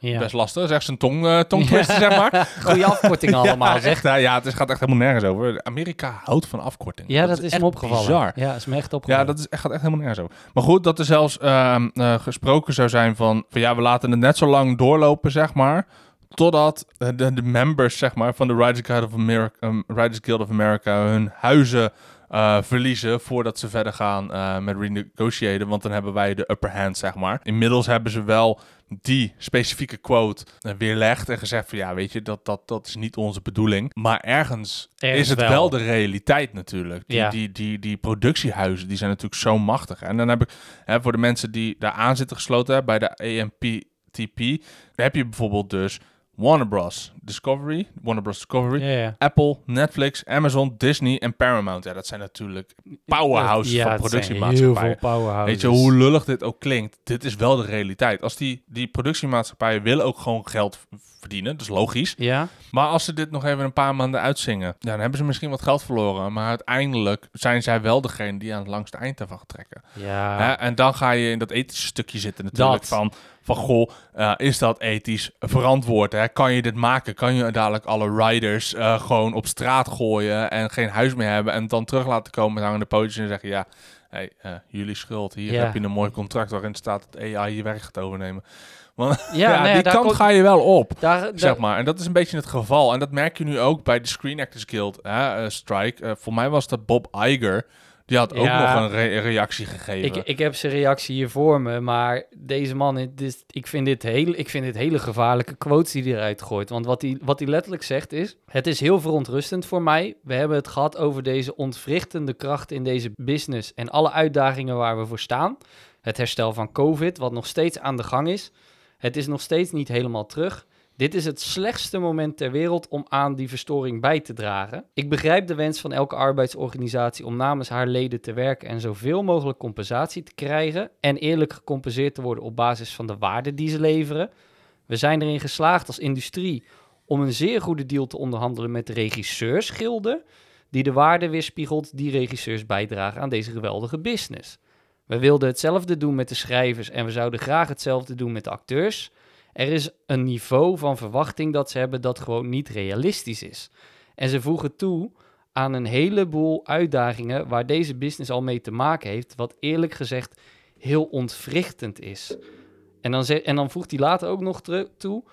S1: ja.
S2: best lastig, is echt zijn tong, eh tongtwister, zeg maar.
S1: (laughs) Goeie afkorting allemaal,
S2: (laughs) ja,
S1: zeg.
S2: Echt, hè? ja, het is, gaat echt helemaal nergens over. Amerika houdt van afkorting.
S1: Ja, dat, is,
S2: echt
S1: me opgevallen.
S2: bizar.
S1: Ja, is me echt opgevallen.
S2: Ja, dat is, echt- gaat echt helemaal nergens over. Maar goed, dat er zelfs ehm, eh, gesproken zou zijn van, van... ja, we laten het net zo lang doorlopen, zeg maar... totdat eh, de, de members, zeg maar, van de Riders Guild of America... ehm, Riders Guild of America hun huizen eh, verliezen... voordat ze verder gaan eh, met renegotiëren. Want dan hebben wij de upper hand, zeg maar. Inmiddels hebben ze wel die specifieke quote eh, weerlegd... en gezegd van, ja, weet je, dat, dat, dat is niet onze bedoeling. Maar ergens,
S1: Ergens
S2: is het
S1: wel.
S2: wel. de realiteit natuurlijk. Die,
S1: Ja.
S2: die, die, die productiehuizen die zijn natuurlijk zo machtig. En dan heb ik hè, voor de mensen die daar aan zitten gesloten hè, bij de AMPTP, dan heb je bijvoorbeeld dus Warner Bros. Discovery, Warner Bros. Discovery,
S1: Ja, ja.
S2: Apple, Netflix, Amazon, Disney en Paramount. Ja, dat zijn natuurlijk powerhouses
S1: Ja,
S2: van
S1: het zijn
S2: productiemaatschappijen.
S1: Heel veel powerhouses.
S2: Weet je, hoe lullig dit ook klinkt, dit is wel de realiteit. Als die, die productiemaatschappijen willen ook gewoon geld v- verdienen, dat is logisch.
S1: Ja,
S2: Maar als ze dit nog even een paar maanden uitzingen, ja, dan hebben ze misschien wat geld verloren. Maar uiteindelijk zijn zij wel degene die aan het langste eind ervan trekken.
S1: ja.
S2: Hè? En dan ga je in dat ethische stukje zitten natuurlijk.
S1: Dat.
S2: Van, van goh, eh, is dat ethisch verantwoord? Hè? Kan je dit maken? Kan je dadelijk alle riders eh, gewoon op straat gooien en geen huis meer hebben? En dan terug laten komen met hangende pootjes en zeggen, ja, hey, eh, jullie schuld. Hier
S1: Ja.
S2: heb je een mooi contract waarin staat dat AI je werk gaat overnemen.
S1: ja, nou ja,
S2: die
S1: daar
S2: kant
S1: komt-
S2: ga je wel op.
S1: daar, daar-
S2: Zeg maar. En dat is een beetje het geval. En dat merk je nu ook bij de Screen Actors Guild hè, eh, strike. Eh, voor mij was dat Bob Iger. Die had ook
S1: Ja.
S2: nog een re- reactie gegeven.
S1: Ik, ik heb zijn reactie hier voor me, maar deze man, het is, ik, vind dit heel, ik vind dit hele gevaarlijke quotes die hij eruit gooit. Want wat hij, wat hij letterlijk zegt is, het is heel verontrustend voor mij. We hebben het gehad over deze ontwrichtende kracht in deze business en alle uitdagingen waar we voor staan. Het herstel van COVID, wat nog steeds aan de gang is. Het is nog steeds niet helemaal terug. Dit is het slechtste moment ter wereld om aan die verstoring bij te dragen. Ik begrijp de wens van elke arbeidsorganisatie om namens haar leden te werken en zoveel mogelijk compensatie te krijgen en eerlijk gecompenseerd te worden op basis van de waarde die ze leveren. We zijn erin geslaagd als industrie om een zeer goede deal te onderhandelen met de regisseursgilden, die de waarde weerspiegelt die regisseurs bijdragen aan deze geweldige business. We wilden hetzelfde doen met de schrijvers en we zouden graag hetzelfde doen met de acteurs. Er is een niveau van verwachting dat ze hebben dat gewoon niet realistisch is. En ze voegen toe aan een heleboel uitdagingen waar deze business al mee te maken heeft, wat eerlijk gezegd heel ontwrichtend is. En dan, ze- en dan voegt hij later ook nog teru- toe.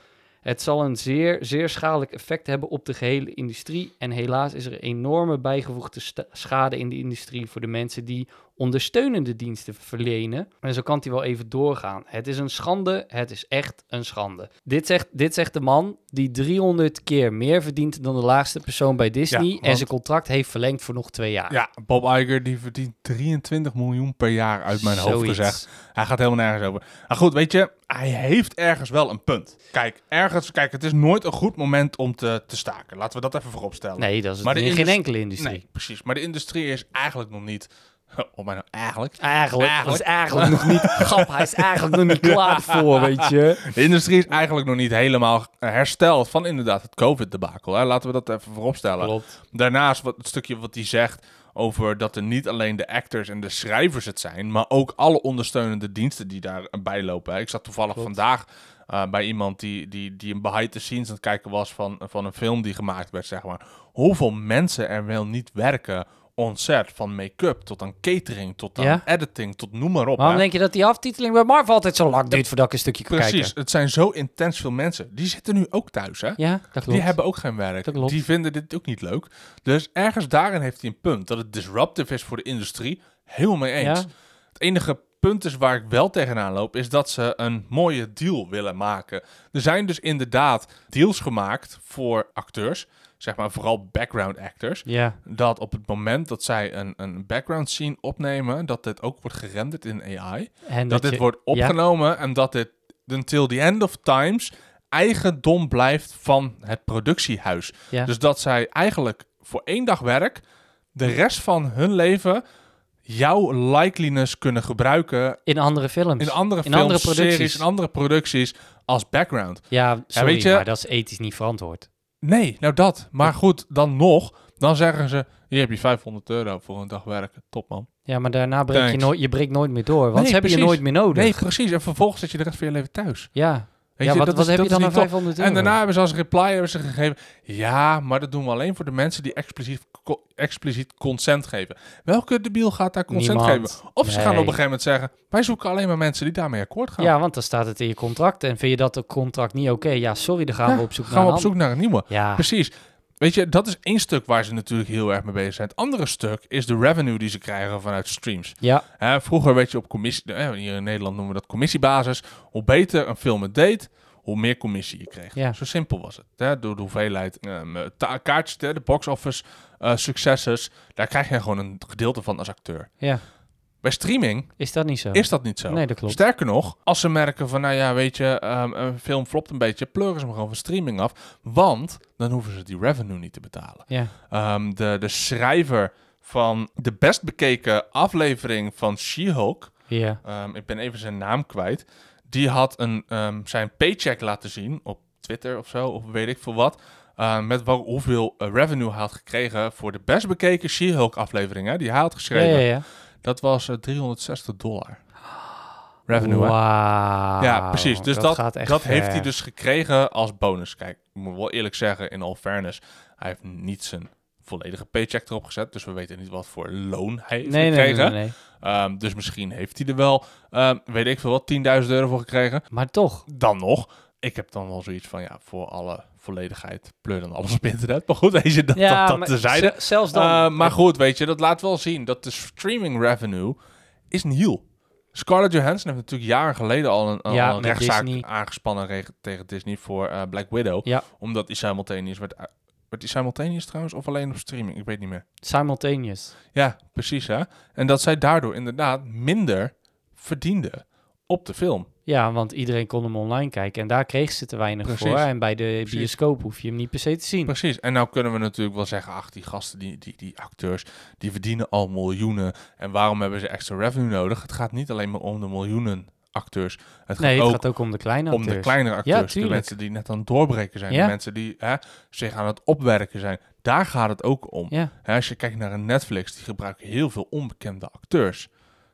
S1: Het zal een zeer, zeer schadelijk effect hebben op de gehele industrie. En helaas is er enorme bijgevoegde sta- schade in de industrie voor de mensen die ondersteunende diensten verlenen. En zo kan hij wel even doorgaan. Het is een schande, het is echt een schande. Dit zegt, dit zegt de man die 300 keer meer verdient dan de laagste persoon bij Disney.
S2: Ja, want-
S1: En zijn contract heeft verlengd voor nog twee jaar.
S2: Ja, Bob Iger die verdient 23 miljoen per jaar uit mijn hoofd
S1: Zoiets.
S2: gezegd. Hij gaat helemaal nergens over. Maar goed, weet je, hij heeft ergens wel een punt. Kijk, ergens, kijk, het is nooit een goed moment om te, te staken. Laten we dat even voorop stellen.
S1: Nee, dat is
S2: Maar de
S1: in geen
S2: indust-
S1: enkele industrie.
S2: Nee, precies. Maar de industrie is eigenlijk nog niet. (laughs) Op mijn eigenlijk.
S1: Eigenlijk,
S2: Eigenlijk.
S1: dat is eigenlijk nog
S2: (laughs)
S1: niet grap. Hij is eigenlijk nog niet klaar voor, weet je.
S2: De industrie is eigenlijk nog niet helemaal hersteld van inderdaad het COVID-debakel. hè. Laten we dat even vooropstellen.
S1: Klopt.
S2: Daarnaast wat, het stukje wat hij zegt over dat er niet alleen de actors en de schrijvers het zijn, maar ook alle ondersteunende diensten die daarbij lopen. hè. Ik zat toevallig vandaag eh, bij iemand die, die, die een behind the scenes aan het kijken was van, van een film die gemaakt werd, zeg maar. Hoeveel mensen er wel niet werken on set, van make-up tot aan catering, tot aan
S1: Ja.
S2: editing, tot noem maar op.
S1: Waarom
S2: hè.
S1: denk je dat die aftiteling bij Marvel altijd zo lang duurt voordat ik een stukje kan
S2: Precies,
S1: kijken?
S2: het zijn zo intens veel mensen. Die zitten nu ook thuis, hè?
S1: Ja, dat klopt.
S2: Die hebben ook geen werk.
S1: Dat klopt.
S2: Die vinden dit ook niet leuk. Dus ergens daarin heeft hij een punt. Dat het disruptive is voor de industrie. Helemaal mee eens.
S1: Ja.
S2: Het enige punt is waar ik wel tegenaan loop... is dat ze een mooie deal willen maken. Er zijn dus inderdaad deals gemaakt voor acteurs. Zeg maar vooral background actors.
S1: Ja,
S2: Dat op het moment dat zij een, een background scene opnemen... dat dit ook wordt gerenderd in AI.
S1: en
S2: Dat,
S1: dat
S2: dit
S1: je-
S2: wordt opgenomen en dat dit until the end of times eigendom blijft van het productiehuis.
S1: Ja.
S2: Dus dat zij eigenlijk voor één dag werk de rest van hun leven jouw likeliness kunnen gebruiken
S1: in andere films.
S2: in andere
S1: In
S2: films,
S1: andere producties.
S2: series, in andere producties als background.
S1: Ja, sorry,
S2: weet je-
S1: maar dat is ethisch niet verantwoord.
S2: Nee, nou dat. Maar goed, dan nog, dan zeggen ze, hier heb je 500 euro voor een dag werken. Top man.
S1: Ja, maar daarna breek je,
S2: Thanks.
S1: nooit, je breekt nooit meer door, want
S2: Nee,
S1: ze hebben je
S2: precies.
S1: nooit meer nodig.
S2: Nee, precies. En vervolgens zit je de rest van je leven thuis.
S1: ja.
S2: Weet
S1: ja,
S2: je,
S1: wat,
S2: dat
S1: wat
S2: is-
S1: heb
S2: dat
S1: je
S2: is
S1: dan aan
S2: niet top.
S1: 500 euro?
S2: En daarna hebben ze als reply hebben ze gegeven... Ja, maar dat doen we alleen voor de mensen die expliciet, co- expliciet consent geven. Welke debiel gaat daar consent
S1: Niemand.
S2: geven? Of ze gaan op een
S1: Nee.
S2: gegeven moment zeggen... wij zoeken alleen maar mensen die daarmee akkoord gaan.
S1: Ja, want dan staat het in je contract. En vind je dat de contract niet oké? Ja, sorry, dan gaan
S2: Ja,
S1: we op zoek
S2: gaan
S1: naar
S2: we
S1: een
S2: op zoek naar een nieuwe.
S1: ander- Ja,
S2: Precies. Weet je, dat is één stuk waar ze natuurlijk heel erg mee bezig zijn. Het andere stuk is de revenue die ze krijgen vanuit streams.
S1: ja,
S2: Hè, vroeger werd je op commissie... eh, Hier in Nederland noemen we dat commissiebasis. Hoe beter een film het deed, hoe meer commissie je kreeg.
S1: Ja.
S2: Zo simpel was het. Hè? Door de hoeveelheid ehm, ta- kaartjes, hè, de box office eh, successen. Daar krijg je gewoon een gedeelte van als acteur.
S1: ja.
S2: Bij streaming
S1: Is dat niet zo?
S2: is dat niet zo.
S1: Nee, dat klopt.
S2: Sterker nog, als ze merken van, nou ja, weet je, ehm, een film flopt een beetje, pleuren ze hem gewoon van streaming af. Want dan hoeven ze die revenue niet te betalen.
S1: Ja.
S2: Ehm, de, de schrijver van de best bekeken aflevering van She-Hulk,
S1: Ja.
S2: Ehm, ik ben even zijn naam kwijt. Die had een, ehm, zijn paycheck laten zien op Twitter of zo, of weet ik veel wat. ehm, met wel, hoeveel eh, revenue hij had gekregen voor de best bekeken She-Hulk aflevering. Hè, die hij had
S1: Ja,
S2: geschreven.
S1: ja, ja.
S2: Dat was eh, 360 dollar. Revenue. hè?
S1: Wauw.
S2: Ja, precies. Dus dat,
S1: gaat
S2: dat,
S1: echt ver.
S2: heeft hij dus gekregen als bonus. Kijk, ik moet wel eerlijk zeggen, in all fairness, hij heeft niet zijn volledige paycheck erop gezet. Dus we weten niet wat voor loon hij heeft
S1: Nee, nee, nee,
S2: gekregen.
S1: nee, nee.
S2: Ehm, dus misschien heeft hij er wel, ehm, weet ik veel wat, 10.000 euro voor gekregen.
S1: Maar toch.
S2: Dan nog. Ik heb dan wel zoiets van, ja, voor alle volledigheid, pleur dan alles op internet. Maar goed, deze (laughs) dat,
S1: ja,
S2: dat, dat
S1: maar
S2: tezijde.
S1: z- zelfs dan.
S2: Eh, maar goed, weet je, dat laat wel zien dat de streaming revenue is nieuw. Scarlett Johansson heeft natuurlijk jaren geleden al een, al
S1: Ja,
S2: een
S1: met
S2: rechtszaak
S1: Disney.
S2: aangespannen reg- tegen Disney voor eh, Black Widow.
S1: Ja.
S2: Omdat die simultaneous werd... u- Werd die simultaneous trouwens of alleen op streaming? Ik weet niet meer.
S1: Simultaneous.
S2: Ja, precies hè. En dat zij daardoor inderdaad minder verdiende op de film.
S1: Ja, want iedereen kon hem online kijken en daar kreeg ze te weinig
S2: Precies.
S1: voor. En bij de
S2: Precies.
S1: bioscoop hoef je hem niet per se te zien.
S2: Precies. En nou kunnen we natuurlijk wel zeggen, ach, die gasten, die, die, die acteurs, die verdienen al miljoenen. En waarom hebben ze extra revenue nodig? Het gaat niet alleen maar om de miljoenen acteurs. Het gaat
S1: Nee, het
S2: ook
S1: gaat ook om de kleine
S2: om de
S1: acteurs.
S2: kleinere acteurs. de
S1: tuurlijk.
S2: mensen die net aan het doorbreken zijn.
S1: Ja.
S2: De mensen die hè, zich aan het opwerken zijn. Daar gaat het ook om.
S1: Ja,
S2: Hè, als je kijkt naar een Netflix, die gebruiken heel veel onbekende acteurs.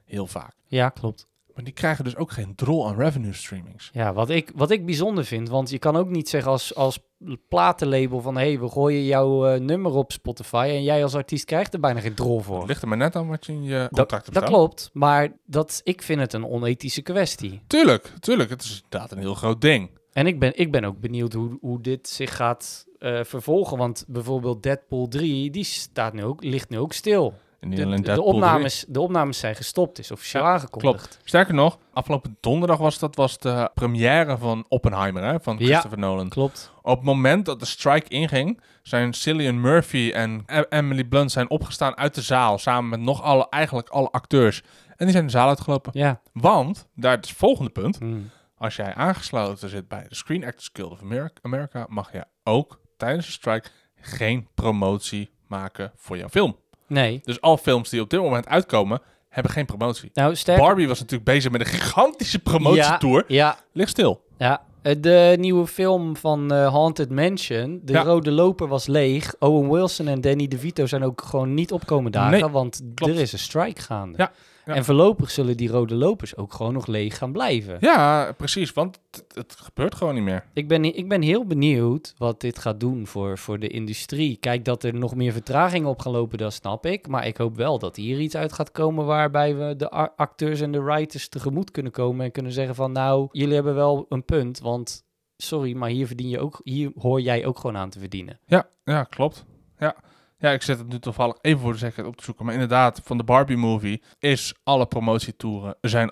S2: Heel vaak.
S1: ja, klopt.
S2: Maar die krijgen dus ook geen drol aan revenue streamings.
S1: Ja, wat ik, wat ik bijzonder vind, want je kan ook niet zeggen als, als platenlabel van... hé, hey, we gooien jouw eh, nummer op Spotify en jij als artiest krijgt er bijna geen drol voor.
S2: Het ligt er maar net aan wat je in je
S1: Dat,
S2: contract hebt
S1: dat
S2: staan.
S1: klopt, maar dat, ik vind het een onethische kwestie.
S2: Tuurlijk, tuurlijk. Het is inderdaad een heel groot ding.
S1: En ik ben, ik ben ook benieuwd hoe, hoe dit zich gaat eh, vervolgen. Want bijvoorbeeld Deadpool 3, die staat nu ook, ligt nu ook stil.
S2: En
S1: De,
S2: niet alleen
S1: de
S2: Deadpool
S1: opnames, de opnames zijn gestopt, is officieel aangekondigd.
S2: drie. Sterker nog, afgelopen donderdag was dat was de première van Oppenheimer hè, van
S1: Ja.
S2: Christopher Nolan.
S1: Klopt.
S2: Op het moment dat de strike inging, zijn Cillian Murphy en E- Emily Blunt zijn opgestaan uit de zaal samen met nog alle, eigenlijk alle acteurs. En die zijn de zaal uitgelopen.
S1: Ja.
S2: Want, daar is het volgende punt.
S1: Hmm.
S2: Als jij aangesloten zit bij de Screen Actors Guild of Ameri- America, mag jij ook tijdens de strike geen promotie maken voor jouw film.
S1: Nee.
S2: Dus al films die op dit moment uitkomen, hebben geen promotie.
S1: Nou, sterk.
S2: Barbie was natuurlijk bezig met een gigantische promotietour.
S1: Ja,
S2: Ligt stil.
S1: ja. Eh, De nieuwe film van eh, Haunted Mansion, de
S2: Ja.
S1: rode loper was leeg. Owen Wilson en Danny DeVito zijn ook gewoon niet opkomen dagen,
S2: Nee,
S1: want
S2: klopt.
S1: er is een strike gaande.
S2: Ja. Ja.
S1: En voorlopig zullen die rode lopers ook gewoon nog leeg gaan blijven.
S2: Ja, precies, want het, het gebeurt gewoon niet meer.
S1: Ik, ben, ik ben heel benieuwd wat dit gaat doen voor, voor de industrie. Kijk, dat er nog meer vertragingen op gaan lopen, dat snap ik. Maar ik hoop wel dat hier iets uit gaat komen waarbij we de a- acteurs en de writers tegemoet kunnen komen. En kunnen zeggen van, nou, jullie hebben wel een punt, want... Sorry, maar hier, verdien je ook, hier hoor jij ook gewoon aan te verdienen.
S2: Ja, ja klopt. Ja. ja, ik zet het nu toevallig even voor de zekerheid op te zoeken. Maar inderdaad, van de Barbie-movie is alle promotietoeren zijn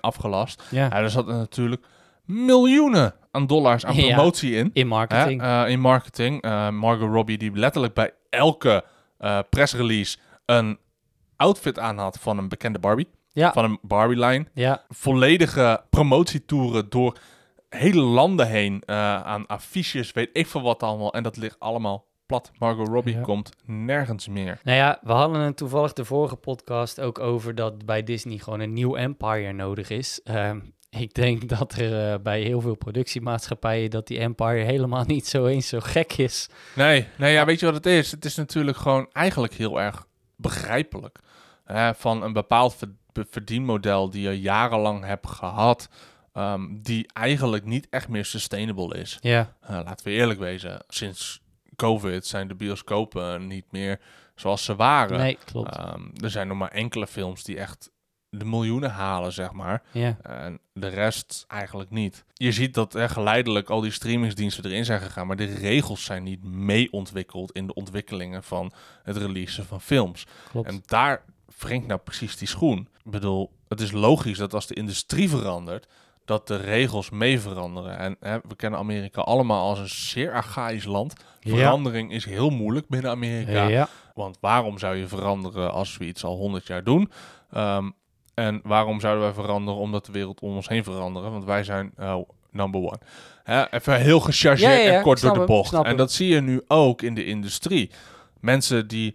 S1: (laughs)
S2: afgelast.
S1: Ja.
S2: Ja, er zaten natuurlijk miljoenen aan dollars aan
S1: Ja.
S2: promotie in.
S1: In
S2: Hè,
S1: marketing.
S2: eh, in marketing. Eh, Margot Robbie die letterlijk bij elke eh pressrelease een outfit aan had van een bekende Barbie.
S1: Ja.
S2: Van een Barbie-lijn.
S1: ja,
S2: Volledige promotietoeren door hele landen heen eh, aan affiches, weet ik veel wat allemaal. En dat ligt allemaal plat. Margot Robbie
S1: Ja.
S2: komt nergens meer.
S1: nou ja, we hadden het toevallig de vorige podcast ook over dat bij Disney gewoon een nieuw empire nodig is. Ehm, ik denk (laughs) dat er eh, bij heel veel productiemaatschappijen dat die empire helemaal niet zo eens zo gek is.
S2: Nee, nee ja, weet je wat het is? Het is natuurlijk gewoon eigenlijk heel erg begrijpelijk. hè, van een bepaald ver- be- verdienmodel die je jarenlang hebt gehad, ehm, die eigenlijk niet echt meer sustainable is.
S1: Ja,
S2: Eh, laten we eerlijk wezen, sinds COVID zijn de bioscopen niet meer zoals ze waren.
S1: nee, klopt.
S2: Ehm, er zijn nog maar enkele films die echt de miljoenen halen, zeg maar.
S1: Ja,
S2: En de rest eigenlijk niet. Je ziet dat er geleidelijk al die streamingsdiensten erin zijn gegaan, maar de regels zijn niet mee ontwikkeld in de ontwikkelingen van het releasen van films.
S1: klopt.
S2: En daar wringt nou precies die schoen. Ik bedoel, het is logisch dat als de industrie verandert, dat de regels mee veranderen. En hè, we kennen Amerika allemaal als een zeer archaïsch land.
S1: Ja.
S2: Verandering is heel moeilijk binnen Amerika.
S1: ja,
S2: Want waarom zou je veranderen als we iets al 100 jaar doen? Ehm, en waarom zouden wij veranderen omdat de wereld om ons heen veranderen? Want wij zijn eh, number one. Hè, even heel gechargeerd
S1: Ja, ja, ja,
S2: en kort
S1: ik snap
S2: door de
S1: hem,
S2: bocht.
S1: ik snap
S2: En
S1: hem.
S2: dat zie je nu ook in de industrie. Mensen die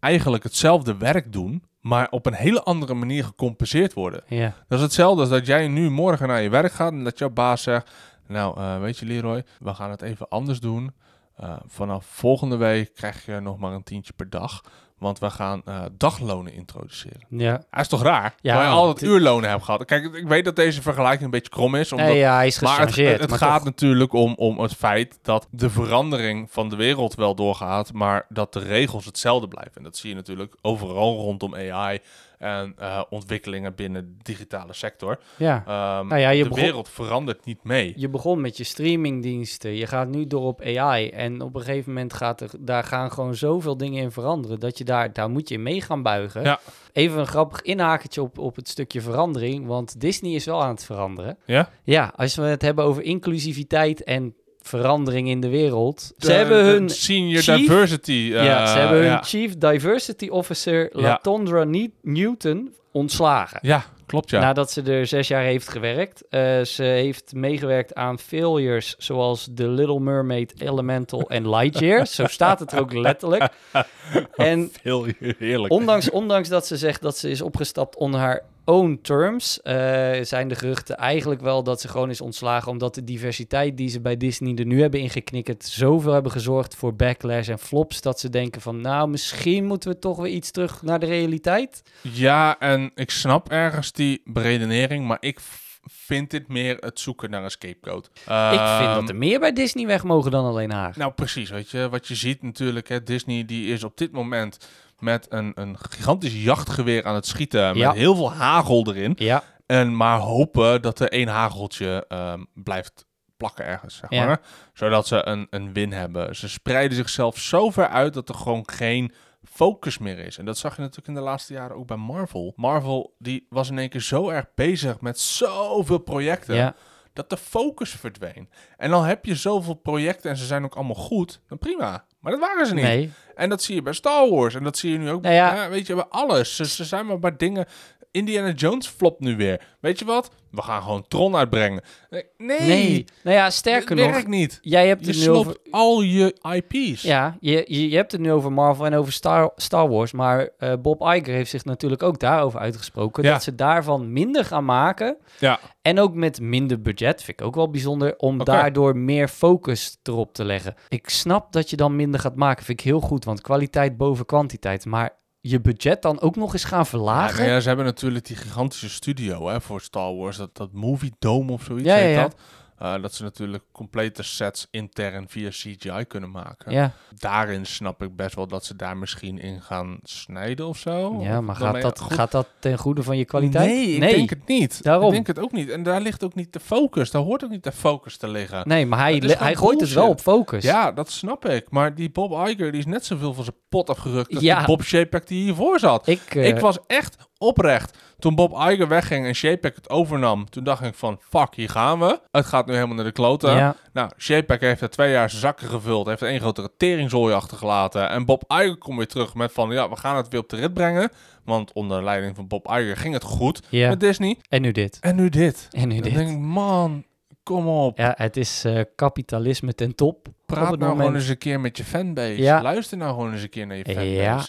S2: eigenlijk hetzelfde werk doen, maar op een hele andere manier gecompenseerd worden.
S1: ja,
S2: Dat is hetzelfde als dat jij nu morgen naar je werk gaat en dat jouw baas zegt: Nou, eh, weet je, Leroy, we gaan het even anders doen. Eh, vanaf volgende week krijg je nog maar een tientje per dag. Want we gaan eh, daglonen introduceren.
S1: ja.
S2: Hij is toch raar?
S1: Ja,
S2: Ja, je altijd
S1: het-
S2: uurlonen hebt gehad. Kijk, ik weet dat deze vergelijking een beetje krom is. Omdat
S1: Nee, ja, hij is
S2: maar het,
S1: gechargeerd.
S2: het
S1: maar
S2: gaat
S1: toch.
S2: natuurlijk om, om het feit dat de verandering van de wereld wel doorgaat, maar dat de regels hetzelfde blijven. En dat zie je natuurlijk overal rondom AI en eh, ontwikkelingen binnen de digitale sector.
S1: Ja.
S2: Ehm,
S1: Nou ja, je
S2: de
S1: begon-
S2: wereld verandert niet mee.
S1: Je begon met je streamingdiensten. Je gaat nu door op AI. En op een gegeven moment gaat er, daar gaan gewoon zoveel dingen in veranderen. Dat je daar, daar moet je in mee gaan buigen.
S2: Ja.
S1: Even een grappig inhakertje op, op het stukje verandering. Want Disney is wel aan het veranderen.
S2: Ja?
S1: Ja, als we het hebben over inclusiviteit en verandering in de wereld. Ze
S2: De-
S1: hebben
S2: de
S1: hun.
S2: senior
S1: chief-
S2: diversity.
S1: ja,
S2: eh,
S1: ze hebben hun
S2: ja.
S1: Chief Diversity Officer
S2: Ja.
S1: Latondra Nie- Newton ontslagen.
S2: Ja, klopt ja.
S1: Nadat ze er zes jaar heeft gewerkt. Eh, ze heeft meegewerkt aan failures zoals The Little Mermaid, Elemental en Lightyear. Zo staat het er ook letterlijk.
S2: (laughs)
S1: En
S2: Heel heerlijk.
S1: ondanks, ondanks dat ze zegt dat ze is opgestapt on haar own terms, eh, zijn de geruchten eigenlijk wel dat ze gewoon is ontslagen. Omdat de diversiteit die ze bij Disney er nu hebben ingeknikkerd, zoveel hebben gezorgd voor backlash en flops. Dat ze denken van nou, misschien moeten we toch weer iets terug naar de realiteit.
S2: Ja, en ik snap ergens die beredenering, maar ik v- vind dit meer het zoeken naar een scapegoat.
S1: Ik vind
S2: Ehm,
S1: dat er meer bij Disney weg mogen dan alleen haar.
S2: Nou, precies. Weet je, wat je ziet natuurlijk, hè, Disney die is op dit moment met een, een gigantisch jachtgeweer aan het schieten. Met
S1: Ja.
S2: heel veel hagel erin.
S1: Ja.
S2: En maar hopen dat er één hageltje ehm, blijft plakken ergens, zeg
S1: Ja.
S2: maar. Zodat ze een, een win hebben. Ze spreiden zichzelf zo ver uit dat er gewoon geen focus meer is. En dat zag je natuurlijk in de laatste jaren ook bij Marvel. Marvel die was in één keer zo erg bezig met zoveel projecten
S1: Ja,
S2: dat de focus verdween. En dan heb je zoveel projecten en ze zijn ook allemaal goed, dan prima. Maar dat waren ze niet.
S1: nee.
S2: En dat zie je bij Star Wars en dat zie je nu ook
S1: Nou ja.
S2: eh, weet je, bij alles. Ze, ze zijn maar bij dingen... Indiana Jones flopt nu weer. Weet je wat? We gaan gewoon Tron uitbrengen. Nee,
S1: Nee. Nou ja,
S2: dat
S1: sterker nog,
S2: werkt niet.
S1: jij hebt
S2: Je
S1: het nu over...
S2: sloopt al je IP's.
S1: Ja, je, je, je hebt het nu over Marvel en over Star, Star Wars, maar eh, Bob Iger heeft zich natuurlijk ook daarover uitgesproken,
S2: Ja.
S1: dat ze daarvan minder gaan maken
S2: Ja.
S1: en ook met minder budget, vind ik ook wel bijzonder, om
S2: Oké.
S1: daardoor meer focus erop te leggen. Ik snap dat je dan minder gaat maken, vind ik heel goed, want kwaliteit boven kwantiteit, maar je budget dan ook nog eens gaan
S2: Ja,
S1: verlagen?
S2: maar ja, ze hebben natuurlijk die gigantische studio hè, voor Star Wars. Dat, dat Movie Dome of zoiets
S1: Ja,
S2: heet
S1: ja, ja.
S2: dat. Eh, dat ze natuurlijk complete sets intern via CGI kunnen maken.
S1: Ja.
S2: Daarin snap ik best wel dat ze daar misschien in gaan snijden of zo.
S1: Ja,
S2: Of
S1: maar gaat
S2: daarmee-
S1: dat,
S2: Goed,
S1: gaat dat ten goede van je kwaliteit?
S2: Nee, ik denk het niet.
S1: Daarom.
S2: Ik denk het ook niet. En daar ligt ook niet de focus. Daar hoort ook niet de focus te liggen.
S1: Nee, maar hij,
S2: Het is
S1: le-
S2: gewoon
S1: hij gooit het wel op
S2: bullshit.
S1: focus.
S2: Ja, dat snap ik. Maar die Bob Iger die is net zoveel van zijn pot afgerukt als
S1: Ja.
S2: die Bob Chapek die hiervoor zat.
S1: Ik, eh,
S2: Ik was echt oprecht. Toen Bob Iger wegging en JPEG het overnam, toen dacht ik van, fuck, hier gaan we. Het gaat nu helemaal naar de kloten.
S1: ja,
S2: Nou, JPEG heeft er twee jaar zijn zakken gevuld, heeft één grote teringzooi achtergelaten. En Bob Iger komt weer terug met van, ja, we gaan het weer op de rit brengen. Want onder leiding van Bob Iger ging het goed
S1: ja.
S2: met Disney.
S1: En nu dit.
S2: En nu dit.
S1: En nu
S2: Dan
S1: dit.
S2: denk ik, man, kom op.
S1: Ja, het is eh, kapitalisme ten top. op
S2: Praat
S1: het
S2: nou gewoon
S1: moment.
S2: eens een keer met je fanbase.
S1: Ja.
S2: Luister nou gewoon eens een keer naar je fanbase.
S1: Ja.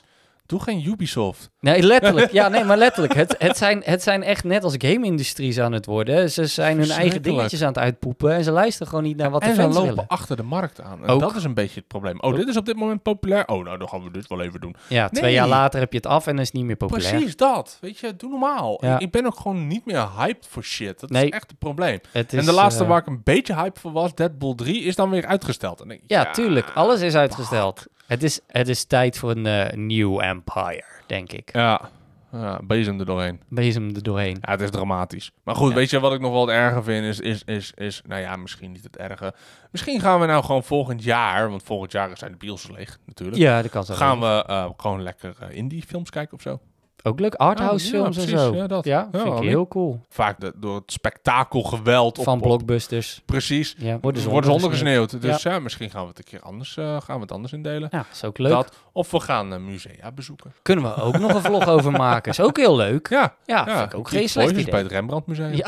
S2: Doe geen Ubisoft.
S1: Nee,
S2: (laughs)
S1: letterlijk. Ja, nee, maar letterlijk. Het, het, zijn, het zijn echt net als game-industries aan het worden. Ze zijn hun eigen
S2: Verschrikkelijk.
S1: dingetjes aan het uitpoepen en ze luisteren gewoon niet naar wat de
S2: en ze
S1: fans
S2: lopen
S1: willen.
S2: achter de markt aan. En
S1: Ook.
S2: dat is een beetje het probleem. Oh,
S1: Ook.
S2: dit is op dit moment populair. Oh, nou, dan gaan we dit wel even doen.
S1: Ja, twee
S2: Nee.
S1: jaar later heb je het af en dan is het niet meer populair.
S2: Precies dat. Weet je, doe normaal.
S1: Ja.
S2: Ik, ik ben ook gewoon niet meer hyped voor shit. Dat
S1: Nee.
S2: is echt het probleem.
S1: Het
S2: en
S1: is,
S2: de laatste
S1: eh,
S2: waar ik een beetje hype voor was, Deadpool 3, is dan weer uitgesteld. En ik,
S1: Ja, tuurlijk. Alles is uitgesteld. Het is, het is tijd voor een eh, nieuw empire, denk ik.
S2: Ja. ja, bezem er doorheen.
S1: Bezem er doorheen.
S2: Ja, het is dramatisch. Maar goed,
S1: Ja.
S2: weet je wat ik nog wel het erger vind? Is, is, is, is, nou ja, misschien niet het erge. Misschien gaan we nou gewoon volgend jaar, want volgend jaar zijn de bios leeg natuurlijk.
S1: Ja, dat kan zo.
S2: Gaan we eh, gewoon lekker eh, indie films kijken of zo?
S1: Ook leuk, arthouse
S2: Oh, ja,
S1: films en
S2: precies.
S1: zo.
S2: Ja, dat. Oh, Ja,
S1: vind ik
S2: waarom
S1: heel cool.
S2: Vaak de- door het spektakel geweld op,
S1: Van
S2: op-
S1: blockbusters.
S2: precies.
S1: Ja,
S2: Worden ze, ondergesneeuwd. Dus ja. misschien gaan we het een keer anders, eh, gaan we het anders indelen.
S1: Ja, is ook leuk.
S2: Dat, of we gaan eh, musea bezoeken.
S1: Kunnen we ook nog een vlog over maken. Is ook heel leuk.
S2: Ja,
S1: Ja,
S2: ja,
S1: Ah, vind ik ook
S2: Geek
S1: geen slecht
S2: Boys is
S1: idee.
S2: bij het Rembrandt Museum.
S1: Ja.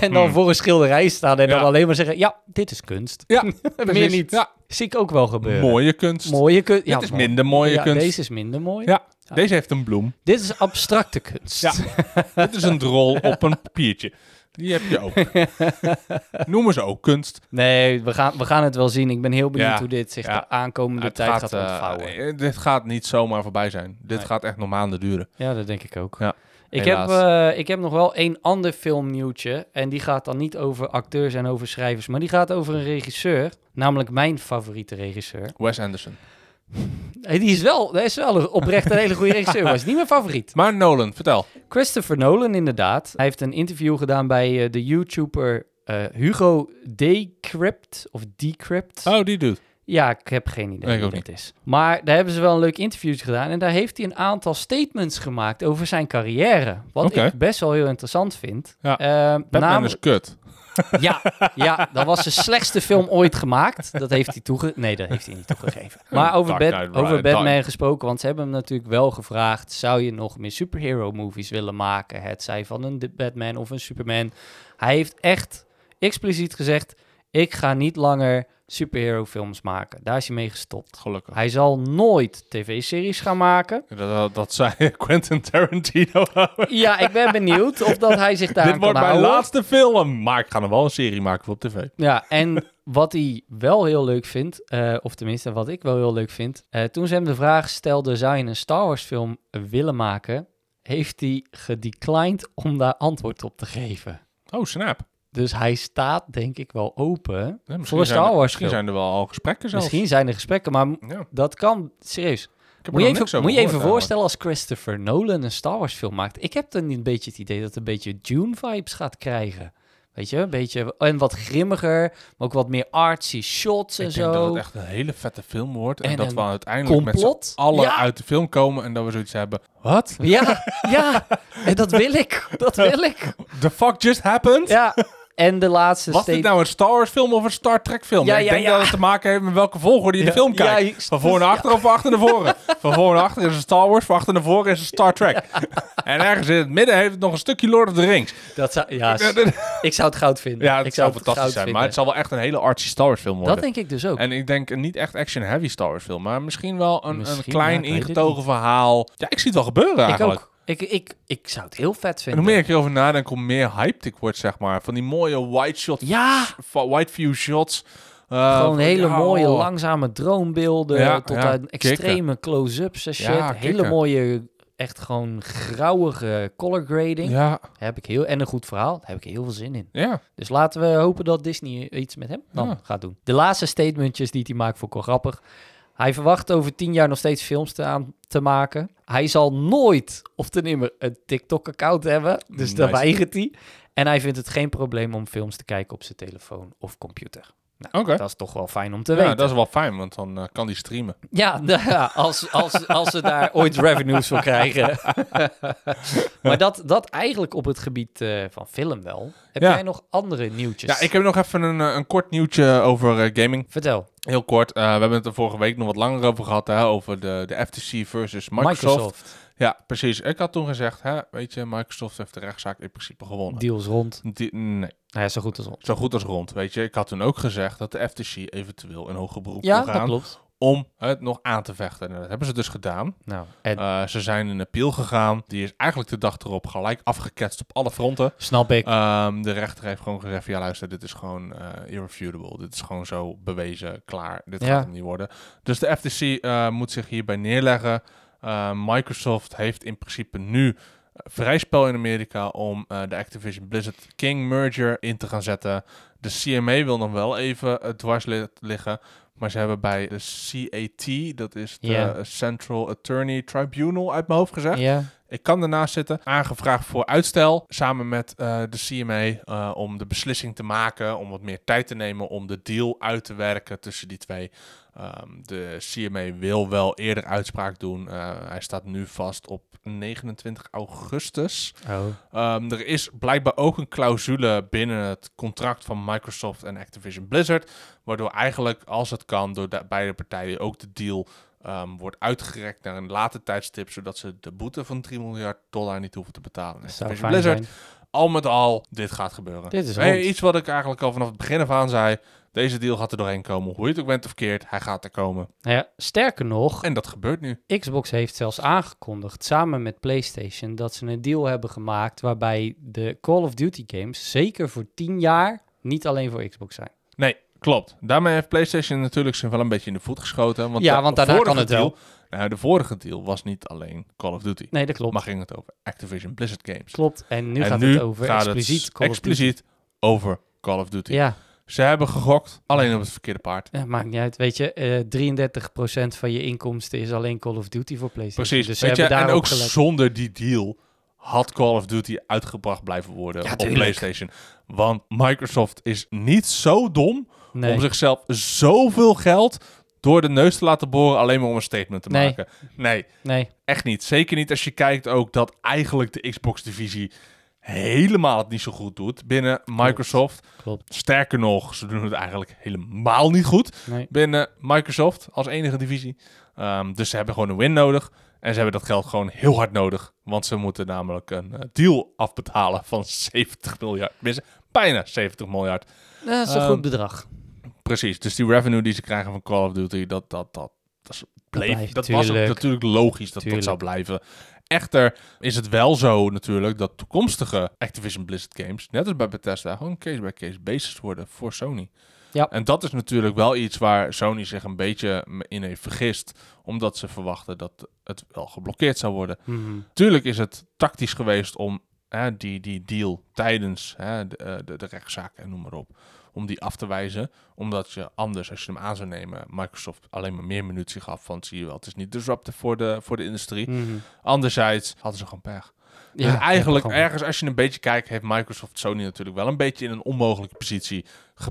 S1: en dan
S2: Hmm.
S1: voor een schilderij staan en dan
S2: Ja.
S1: alleen maar zeggen... Ja, dit is kunst. (laughs)
S2: Ja,
S1: Meer
S2: precies.
S1: niet.
S2: Ja,
S1: Zie ik ook wel gebeuren.
S2: mooie kunst.
S1: Mooie kunst. Ja,
S2: Dit is
S1: mooi.
S2: minder mooie
S1: Ja,
S2: kunst.
S1: Deze is minder mooi.
S2: Ja. Deze heeft een
S1: (laughs)
S2: bloem.
S1: Dit is abstracte kunst.
S2: Ja. Dit is een drol op een papiertje. Die heb je ook.
S1: (laughs)
S2: Noemen ze ook kunst.
S1: Nee, we gaan, we gaan het wel zien. Ik ben heel benieuwd
S2: Ja.
S1: hoe dit zich
S2: Ja.
S1: de aankomende
S2: Het
S1: tijd gaat,
S2: eh,
S1: ontvouwen.
S2: eh, dit gaat niet zomaar voorbij zijn. Dit
S1: Nee.
S2: gaat echt nog maanden duren.
S1: Ja, dat denk ik ook.
S2: Ja,
S1: ik, heb,
S2: helaas.
S1: eh, ik heb nog wel één ander filmnieuwtje. En die gaat dan niet over acteurs en over schrijvers, maar die gaat over een regisseur. Namelijk mijn favoriete regisseur.
S2: Wes Anderson.
S1: Hey, die is wel, hij is wel een- oprecht een hele goede regisseur, maar hij is niet mijn favoriet.
S2: Maar Nolan, vertel.
S1: Christopher Nolan inderdaad. Hij heeft een interview gedaan bij eh, de YouTuber eh, Hugo Decrypt of Decrypt.
S2: Oh, die doet.
S1: Ja, ik heb geen idee
S2: Ik
S1: wie
S2: ook
S1: dat is. Maar daar hebben ze wel een leuk interview gedaan. En daar heeft hij een aantal statements gemaakt over zijn carrière. Wat
S2: Oké.
S1: ik best wel heel interessant vind.
S2: Ja.
S1: Ehm,
S2: Batman
S1: namelijk-
S2: is kut.
S1: ja, ja, dat was de slechtste film ooit gemaakt. Dat heeft hij toege... Nee, dat heeft hij niet toegegeven. Maar over,
S2: Dark
S1: Bat-
S2: Knight
S1: over
S2: Rises.
S1: Batman gesproken, want ze hebben hem natuurlijk wel gevraagd... zou je nog meer superhero-movies willen maken? Het zij van een Batman of een Superman. Hij heeft echt expliciet gezegd... ik ga niet langer superhero-films maken. Daar is hij mee gestopt.
S2: Gelukkig.
S1: Hij zal nooit tv-series gaan maken.
S2: Dat, dat, dat zei (laughs) Quentin Tarantino.
S1: Ja, ik ben benieuwd of dat hij zich daar
S2: (laughs) Dit
S1: aan kan
S2: wordt mijn
S1: houden.
S2: laatste film. Maar ik ga er wel een serie maken voor op tv.
S1: Ja, en wat hij wel heel leuk vindt, eh, of tenminste wat ik wel heel leuk vind, eh, toen ze hem de vraag stelde, zou je een Star Wars film willen maken, heeft hij gedeclined om daar antwoord op te geven.
S2: Oh, snap.
S1: Dus hij staat denk ik wel open.
S2: Ja, misschien
S1: Voor een
S2: zijn er-
S1: Star Wars
S2: Misschien
S1: film.
S2: zijn er wel al gesprekken zelfs.
S1: Misschien zijn er gesprekken, maar m-
S2: Ja, ik
S1: dat kan, serieus.
S2: heb er
S1: Moet je
S2: nog
S1: even,
S2: niks over
S1: moet je even
S2: gehoord
S1: voorstellen als Christopher Nolan een Star Wars film maakt. Ik heb dan een beetje het idee dat het een beetje Dune-vibes gaat krijgen. Weet je, een beetje, en wat grimmiger, maar ook wat meer artsy shots en
S2: eigenlijk. Ik
S1: zo.
S2: denk dat het echt een hele vette film wordt. En,
S1: En
S2: dat
S1: een
S2: we uiteindelijk met
S1: complot?
S2: z'n allen
S1: Ja.
S2: uit de film komen. En dat we zoiets hebben. Wat?
S1: (laughs) Ja, ja. En dat wil ik. Dat wil
S2: (laughs)
S1: ik.
S2: The fuck just happened?
S1: Ja. En de laatste
S2: Was dit
S1: statement.
S2: nou een Star Wars film of een Star Trek film?
S1: Ja,
S2: ik
S1: ja,
S2: denk
S1: ja.
S2: dat het te maken heeft met welke volgorde je
S1: Ja, dus-
S2: de film
S1: ja,
S2: kijkt.
S1: je-
S2: van voor naar achter of van achter naar
S1: (laughs)
S2: voren? Van voor naar achter is een Star Wars, van achter naar voren is een Star Trek. En ergens in het midden heeft het nog een stukje Lord of the Rings.
S1: Dat zou, ja,
S2: Ja,
S1: s-
S2: dat-
S1: ik zou het goud vinden.
S2: ja,
S1: ik
S2: dat zou
S1: het
S2: fantastisch
S1: goud
S2: zijn.
S1: vinden.
S2: Maar het zal wel echt een hele artsy Star Wars film worden.
S1: Dat denk ik dus ook.
S2: En ik denk een niet echt action-heavy Star Wars film, maar misschien wel een, een
S1: Misschien, ja, ik
S2: klein
S1: weet het
S2: ingetogen verhaal. Ja, ik zie het wel gebeuren
S1: ik
S2: eigenlijk.
S1: ook. Ik, ik, ik zou het heel vet
S2: En
S1: vinden.
S2: hoe meer ik erover nadenk, hoe meer hyped ik word, zeg maar. Van die mooie wide shot
S1: Ja,
S2: Wa- wide view shots. Eh,
S1: Gewoon
S2: van,
S1: hele
S2: ja,
S1: mooie,
S2: oh.
S1: langzame droombeelden.
S2: Ja,
S1: tot
S2: ja,
S1: aan extreme close-ups en shit.
S2: Ja,
S1: hele
S2: kicken.
S1: mooie, echt gewoon grauwige color grading.
S2: Ja,
S1: Heb ik heel, en een goed verhaal. Daar heb ik heel veel zin in.
S2: ja.
S1: Dus laten we hopen dat Disney eh, iets met hem dan
S2: Ja.
S1: gaat doen. De laatste statementjes die hij maakt vond ik wel grappig. Hij verwacht over tien jaar nog steeds films te, aan, te maken. Hij zal nooit of ten nimmer een TikTok-account hebben. Dus daar
S2: Nice.
S1: weigert hij. En hij vindt het geen probleem om films te kijken op zijn telefoon of computer. Nou,
S2: Oké.
S1: Dat is toch wel fijn om te
S2: Ja,
S1: weten.
S2: dat is wel fijn, want dan eh, kan die streamen.
S1: Ja, (laughs) nou ja, als, als, als ze daar ooit revenues voor
S2: (laughs)
S1: krijgen. maar dat, dat eigenlijk op het gebied eh, van film wel. Heb
S2: Ja.
S1: jij nog andere nieuwtjes?
S2: Ja, ik heb nog even een, eh, een kort nieuwtje over eh, gaming.
S1: Vertel.
S2: Heel kort. Eh, we hebben het er vorige week nog wat langer over gehad, hè, over de, de FTC versus Microsoft. Ja, precies. Ik had toen gezegd, hè, weet je, Microsoft heeft de rechtszaak in principe gewonnen.
S1: Deals rond.
S2: Die- nee,
S1: Nou ja, zo goed als rond.
S2: zo goed als rond, weet je. Ik had toen ook gezegd dat de FTC eventueel in hoger beroep
S1: Ja,
S2: kon
S1: dat
S2: gaan
S1: klopt.
S2: om het nog aan te vechten. En dat hebben ze dus gedaan.
S1: Nou, en
S2: Eh, ze zijn in appeal gegaan. Die is eigenlijk de dag erop gelijk afgeketst op alle fronten.
S1: snap ik.
S2: Ehm, de rechter heeft gewoon gezegd: van, ja, luister, dit is gewoon eh, irrefutable. Dit is gewoon zo bewezen, klaar. Dit
S1: Ja.
S2: gaat hem niet worden. Dus de FTC eh, moet zich hierbij neerleggen. Eh, Microsoft heeft in principe nu eh, vrij spel in Amerika om eh, de Activision Blizzard King merger in te gaan zetten. De CMA wil nog wel even eh, dwars li- liggen. Maar ze hebben bij de CAT, dat is de
S1: Ja.
S2: eh, Central Attorney Tribunal uit mijn hoofd gezegd.
S1: ja.
S2: Ik kan ernaast zitten. Aangevraagd voor uitstel samen met eh, de CMA eh, om de beslissing te maken. Om wat meer tijd te nemen om de deal uit te werken tussen die twee. Ehm, de CMA wil wel eerder uitspraak doen. Eh, hij staat nu vast op 29 augustus.
S1: Oh.
S2: Ehm, er is blijkbaar ook een clausule binnen het contract van Microsoft en Activision Blizzard. Waardoor eigenlijk, als het kan, door de- beide partijen ook de deal ehm, wordt uitgerekt naar een later tijdstip. Zodat ze de boete van 3 miljard dollar niet hoeven te betalen. aan
S1: Dat zou
S2: Activision
S1: fijn
S2: Blizzard,
S1: zijn.
S2: al met al, dit gaat gebeuren.
S1: Dit is
S2: Hey,
S1: rond.
S2: iets wat ik eigenlijk al vanaf het begin af aan zei. Deze deal gaat er doorheen komen. Hoe je het ook bent of verkeerd, hij gaat er komen.
S1: Nou ja, sterker nog,
S2: En dat gebeurt nu.
S1: Xbox heeft zelfs aangekondigd, samen met PlayStation, dat ze een deal hebben gemaakt waarbij de Call of Duty games zeker voor 10 jaar niet alleen voor Xbox zijn.
S2: Nee, klopt. Daarmee heeft PlayStation natuurlijk zich wel een beetje in de voet geschoten. Want
S1: Ja,
S2: de
S1: want daarna kan
S2: vorige
S1: het wel.
S2: deal- Nou, de vorige deal was niet alleen Call of Duty.
S1: Nee, dat klopt.
S2: Maar ging het over Activision Blizzard Games.
S1: Klopt. En nu
S2: en
S1: gaat
S2: nu
S1: het over
S2: gaat
S1: expliciet
S2: het
S1: Call of Duty.
S2: expliciet over Call of Duty.
S1: Ja,
S2: Ze hebben gegokt, alleen op het verkeerde paard.
S1: eh, maakt niet uit. Weet je, eh 33% van je inkomsten is alleen Call of Duty voor PlayStation.
S2: Precies.
S1: Dus ze
S2: Weet je,
S1: hebben
S2: en
S1: daarop
S2: ook
S1: gelet.
S2: zonder die deal had Call of Duty uitgebracht blijven worden
S1: Ja,
S2: op
S1: tuurlijk.
S2: PlayStation. Want Microsoft is niet zo dom
S1: Nee.
S2: om zichzelf zoveel geld door de neus te laten boren alleen maar om een statement te
S1: Nee.
S2: maken. Nee,
S1: nee.
S2: echt niet. Zeker niet als je kijkt ook dat eigenlijk de Xbox-divisie helemaal het niet zo goed doet binnen Microsoft.
S1: Klopt.
S2: Sterker nog, ze doen het eigenlijk helemaal niet goed
S1: Nee.
S2: binnen Microsoft als enige divisie. Ehm, dus ze hebben gewoon een win nodig. En ze hebben dat geld gewoon heel hard nodig. Want ze moeten namelijk een eh, deal afbetalen van (laughs) 70 miljard. Tenminste, Bijna 70 miljard.
S1: Nou, dat is een
S2: Ehm,
S1: goed bedrag.
S2: Precies. Dus die revenue die ze krijgen van Call of Duty, dat, dat, dat, dat, is- bleef.
S1: blijft,
S2: dat was ook
S1: tuurlijk.
S2: natuurlijk logisch dat
S1: Tuurlijk.
S2: dat zou blijven. Echter is het wel zo natuurlijk dat toekomstige Activision Blizzard games, net als bij Bethesda, gewoon case-by-case basis worden voor Sony.
S1: Ja.
S2: En dat is natuurlijk wel iets waar Sony zich een beetje in heeft vergist, omdat ze verwachten dat het wel geblokkeerd zou worden.
S1: Mhm.
S2: Tuurlijk is het tactisch geweest om hè, die, die deal tijdens hè, de, eh, de, de rechtszaak en noem maar op, om die af te wijzen. Omdat je anders, als je hem aan zou nemen, Microsoft alleen maar meer munitie gaf van zie je wel, het is niet disruptive voor de, voor de industrie.
S1: Mhm.
S2: Anderzijds hadden ze gewoon pech.
S1: Ja,
S2: dus eigenlijk
S1: gewoon.
S2: ergens, als je een beetje kijkt, heeft Microsoft Sony natuurlijk wel een beetje in een onmogelijke positie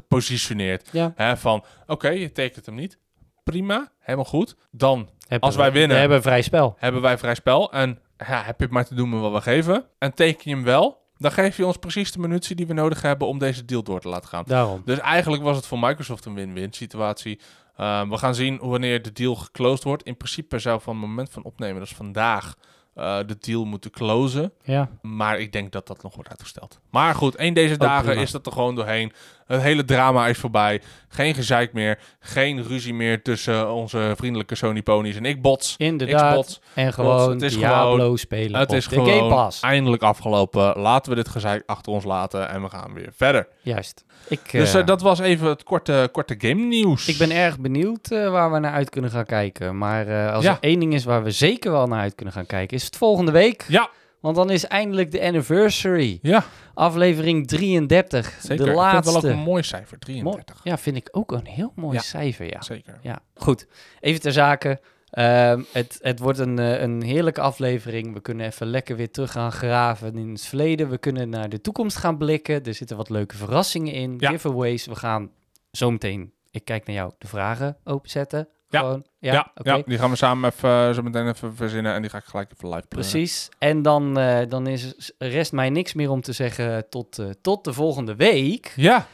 S2: gepositioneerd.
S1: Ja.
S2: Hè, van, oké, je tekent hem niet. Prima, helemaal goed. Dan
S1: Hebben
S2: als wij
S1: we-
S2: winnen-
S1: We hebben vrij spel.
S2: hebben wij vrij spel. En ja, heb je het maar te doen met wat we geven. En teken je hem wel, dan geef je ons precies de munitie die we nodig hebben om deze deal door te laten gaan.
S1: Daarom.
S2: Dus eigenlijk was het voor Microsoft een win-win situatie. Ehm, we gaan zien wanneer de deal geclosed wordt. In principe zou van het moment van opnemen, dat is vandaag, eh, de deal moeten closen.
S1: Ja.
S2: Maar ik denk dat dat nog wordt uitgesteld. Maar goed, één deze
S1: Ook
S2: dagen
S1: Oh, prima.
S2: is dat er gewoon doorheen. Eh, Het hele drama is voorbij. Geen gezeik meer. Geen ruzie meer tussen onze vriendelijke Sony ponies en ik bots.
S1: Inderdaad.
S2: Xbox,
S1: en gewoon
S2: het is
S1: Diablo
S2: gewoon-
S1: spelen
S2: Het
S1: op
S2: is
S1: de Game
S2: gewoon
S1: Pass.
S2: eindelijk afgelopen. Laten we dit gezeik achter ons laten en we gaan weer verder.
S1: Juist. Ik,
S2: Dus
S1: eh,
S2: eh, dat was even het korte, korte game nieuws.
S1: ik ben erg benieuwd eh, waar we naar uit kunnen gaan kijken. Maar eh, als
S2: Ja.
S1: er één ding is waar we zeker wel naar uit kunnen gaan kijken, is het volgende week.
S2: Ja.
S1: Want dan is eindelijk de anniversary.
S2: Ja,
S1: Aflevering 33.
S2: zeker.
S1: De laatste.
S2: Ik vind het wel ook een mooi cijfer, 33.
S1: Mooi. Ja, vind ik ook een heel mooi
S2: Ja.
S1: cijfer, ja.
S2: Zeker.
S1: Ja, goed. Even ter zake. Ehm, het, het wordt een, eh, een heerlijke aflevering. We kunnen even lekker weer terug gaan graven in het verleden. We kunnen naar de toekomst gaan blikken. Er zitten wat leuke verrassingen in.
S2: Ja.
S1: Giveaways. We gaan zo meteen, ik kijk naar jou, de vragen openzetten.
S2: Ja.
S1: Gewoon. Ja,
S2: Ja, ja,
S1: oké.
S2: die gaan we samen even, eh, zo meteen even verzinnen en die ga ik gelijk even live plannen.
S1: Precies. En dan, eh, dan is, rest mij niks meer om te zeggen tot, eh, tot de volgende week.
S2: Ja,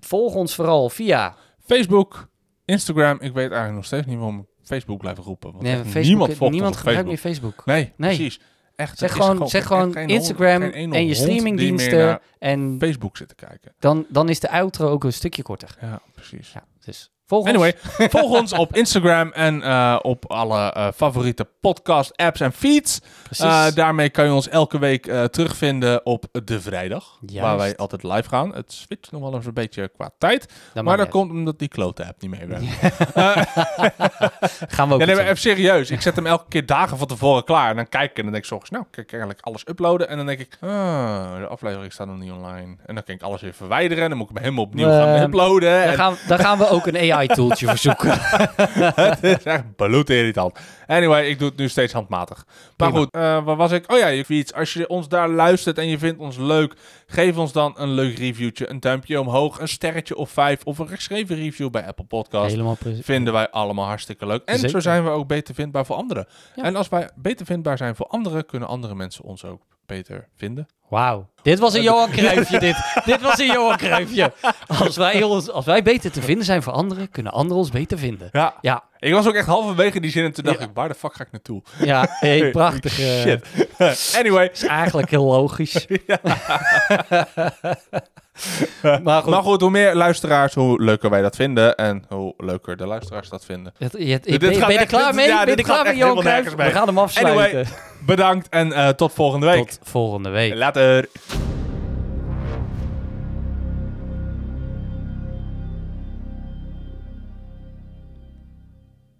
S1: Volg ons vooral via...
S2: Facebook, Instagram. Ik weet eigenlijk nog steeds niet waarom ik Facebook blijven roepen. Want
S1: Nee,
S2: echt
S1: Facebook-
S2: niemand volgt
S1: niemand
S2: ons op
S1: gebruikt
S2: Facebook.
S1: meer Facebook.
S2: Nee,
S1: Nee.
S2: precies. Echt,
S1: Zeg
S2: er is
S1: gewoon, zeg
S2: geen-
S1: gewoon
S2: geen hond-
S1: Instagram
S2: geen ene
S1: en je
S2: hond die meer naar
S1: streamingdiensten. En
S2: Facebook zitten kijken.
S1: dan, dan is de outro ook een stukje korter.
S2: Ja, precies.
S1: Ja, dus volg ons.
S2: Anyway, volg ons op Instagram en eh, op alle eh, favoriete podcast apps en feeds.
S1: Precies.
S2: Eh, daarmee kan je ons elke week eh, terugvinden op de vrijdag.
S1: Juist.
S2: Waar wij altijd live gaan. Het switcht nog wel eens een beetje qua tijd.
S1: Dan
S2: maar
S1: maakt
S2: dat
S1: niet uit.
S2: komt omdat die klote app niet
S1: (laughs)
S2: meewerkt.
S1: gaan we ook iets
S2: Ja, nee, maar
S1: doen.
S2: even serieus. Ik zet hem elke keer dagen van tevoren klaar. En dan kijk ik en dan denk ik zorgens, nou, kan ik eigenlijk alles uploaden? En dan denk ik, ah, de aflevering staat nog niet online. En dan kan ik alles weer verwijderen. Dan moet ik hem helemaal opnieuw gaan
S1: Ehm,
S2: uploaden.
S1: Daar
S2: En
S1: gaan, daar gaan we ook een
S2: (laughs)
S1: AI-tooltje voor zoeken.
S2: het is echt bloedirritant. Anyway, ik doe het nu steeds handmatig. Maar
S1: Prima.
S2: goed, eh, waar was ik? Oh ja, je fiets. Als je ons daar luistert en je vindt ons leuk, geef ons dan een leuk reviewtje. Een duimpje omhoog, een sterretje of vijf of een geschreven review bij Apple Podcasts.
S1: Helemaal precies.
S2: Vinden wij allemaal hartstikke leuk. En zo
S1: Zeker.
S2: zijn we ook beter vindbaar voor anderen.
S1: Ja.
S2: En als wij beter vindbaar zijn voor anderen, kunnen andere mensen ons ook beter vinden.
S1: Wauw. Dit was een Johan Cruijffje, dit. Dit was een Johan Cruijffje. Als wij, ons, als wij beter te vinden zijn voor anderen, kunnen anderen ons beter vinden.
S2: Ja.
S1: Ja,
S2: Ik was ook echt halverwege die zin en toen dacht
S1: Ja.
S2: ik, waar de fuck ga ik naartoe?
S1: ja hey, prachtig. eh,
S2: Shit. anyway.
S1: is eigenlijk heel
S2: (laughs)
S1: logisch. maar goed,
S2: Maar goed, hoe meer luisteraars, hoe leuker wij dat vinden. En hoe leuker de luisteraars dat vinden.
S1: het- je- je-
S2: dit
S1: ben, je-
S2: gaat
S1: ben je er
S2: echt-
S1: klaar
S2: dit-
S1: mee?
S2: ja,
S1: ben je er
S2: dit
S1: klaar
S2: gaat
S1: mee,
S2: echt
S1: Johan
S2: helemaal
S1: Cruijff?
S2: nergens
S1: We gaan hem afsluiten.
S2: Bedankt en eh, tot volgende week.
S1: Tot volgende week.
S2: Later.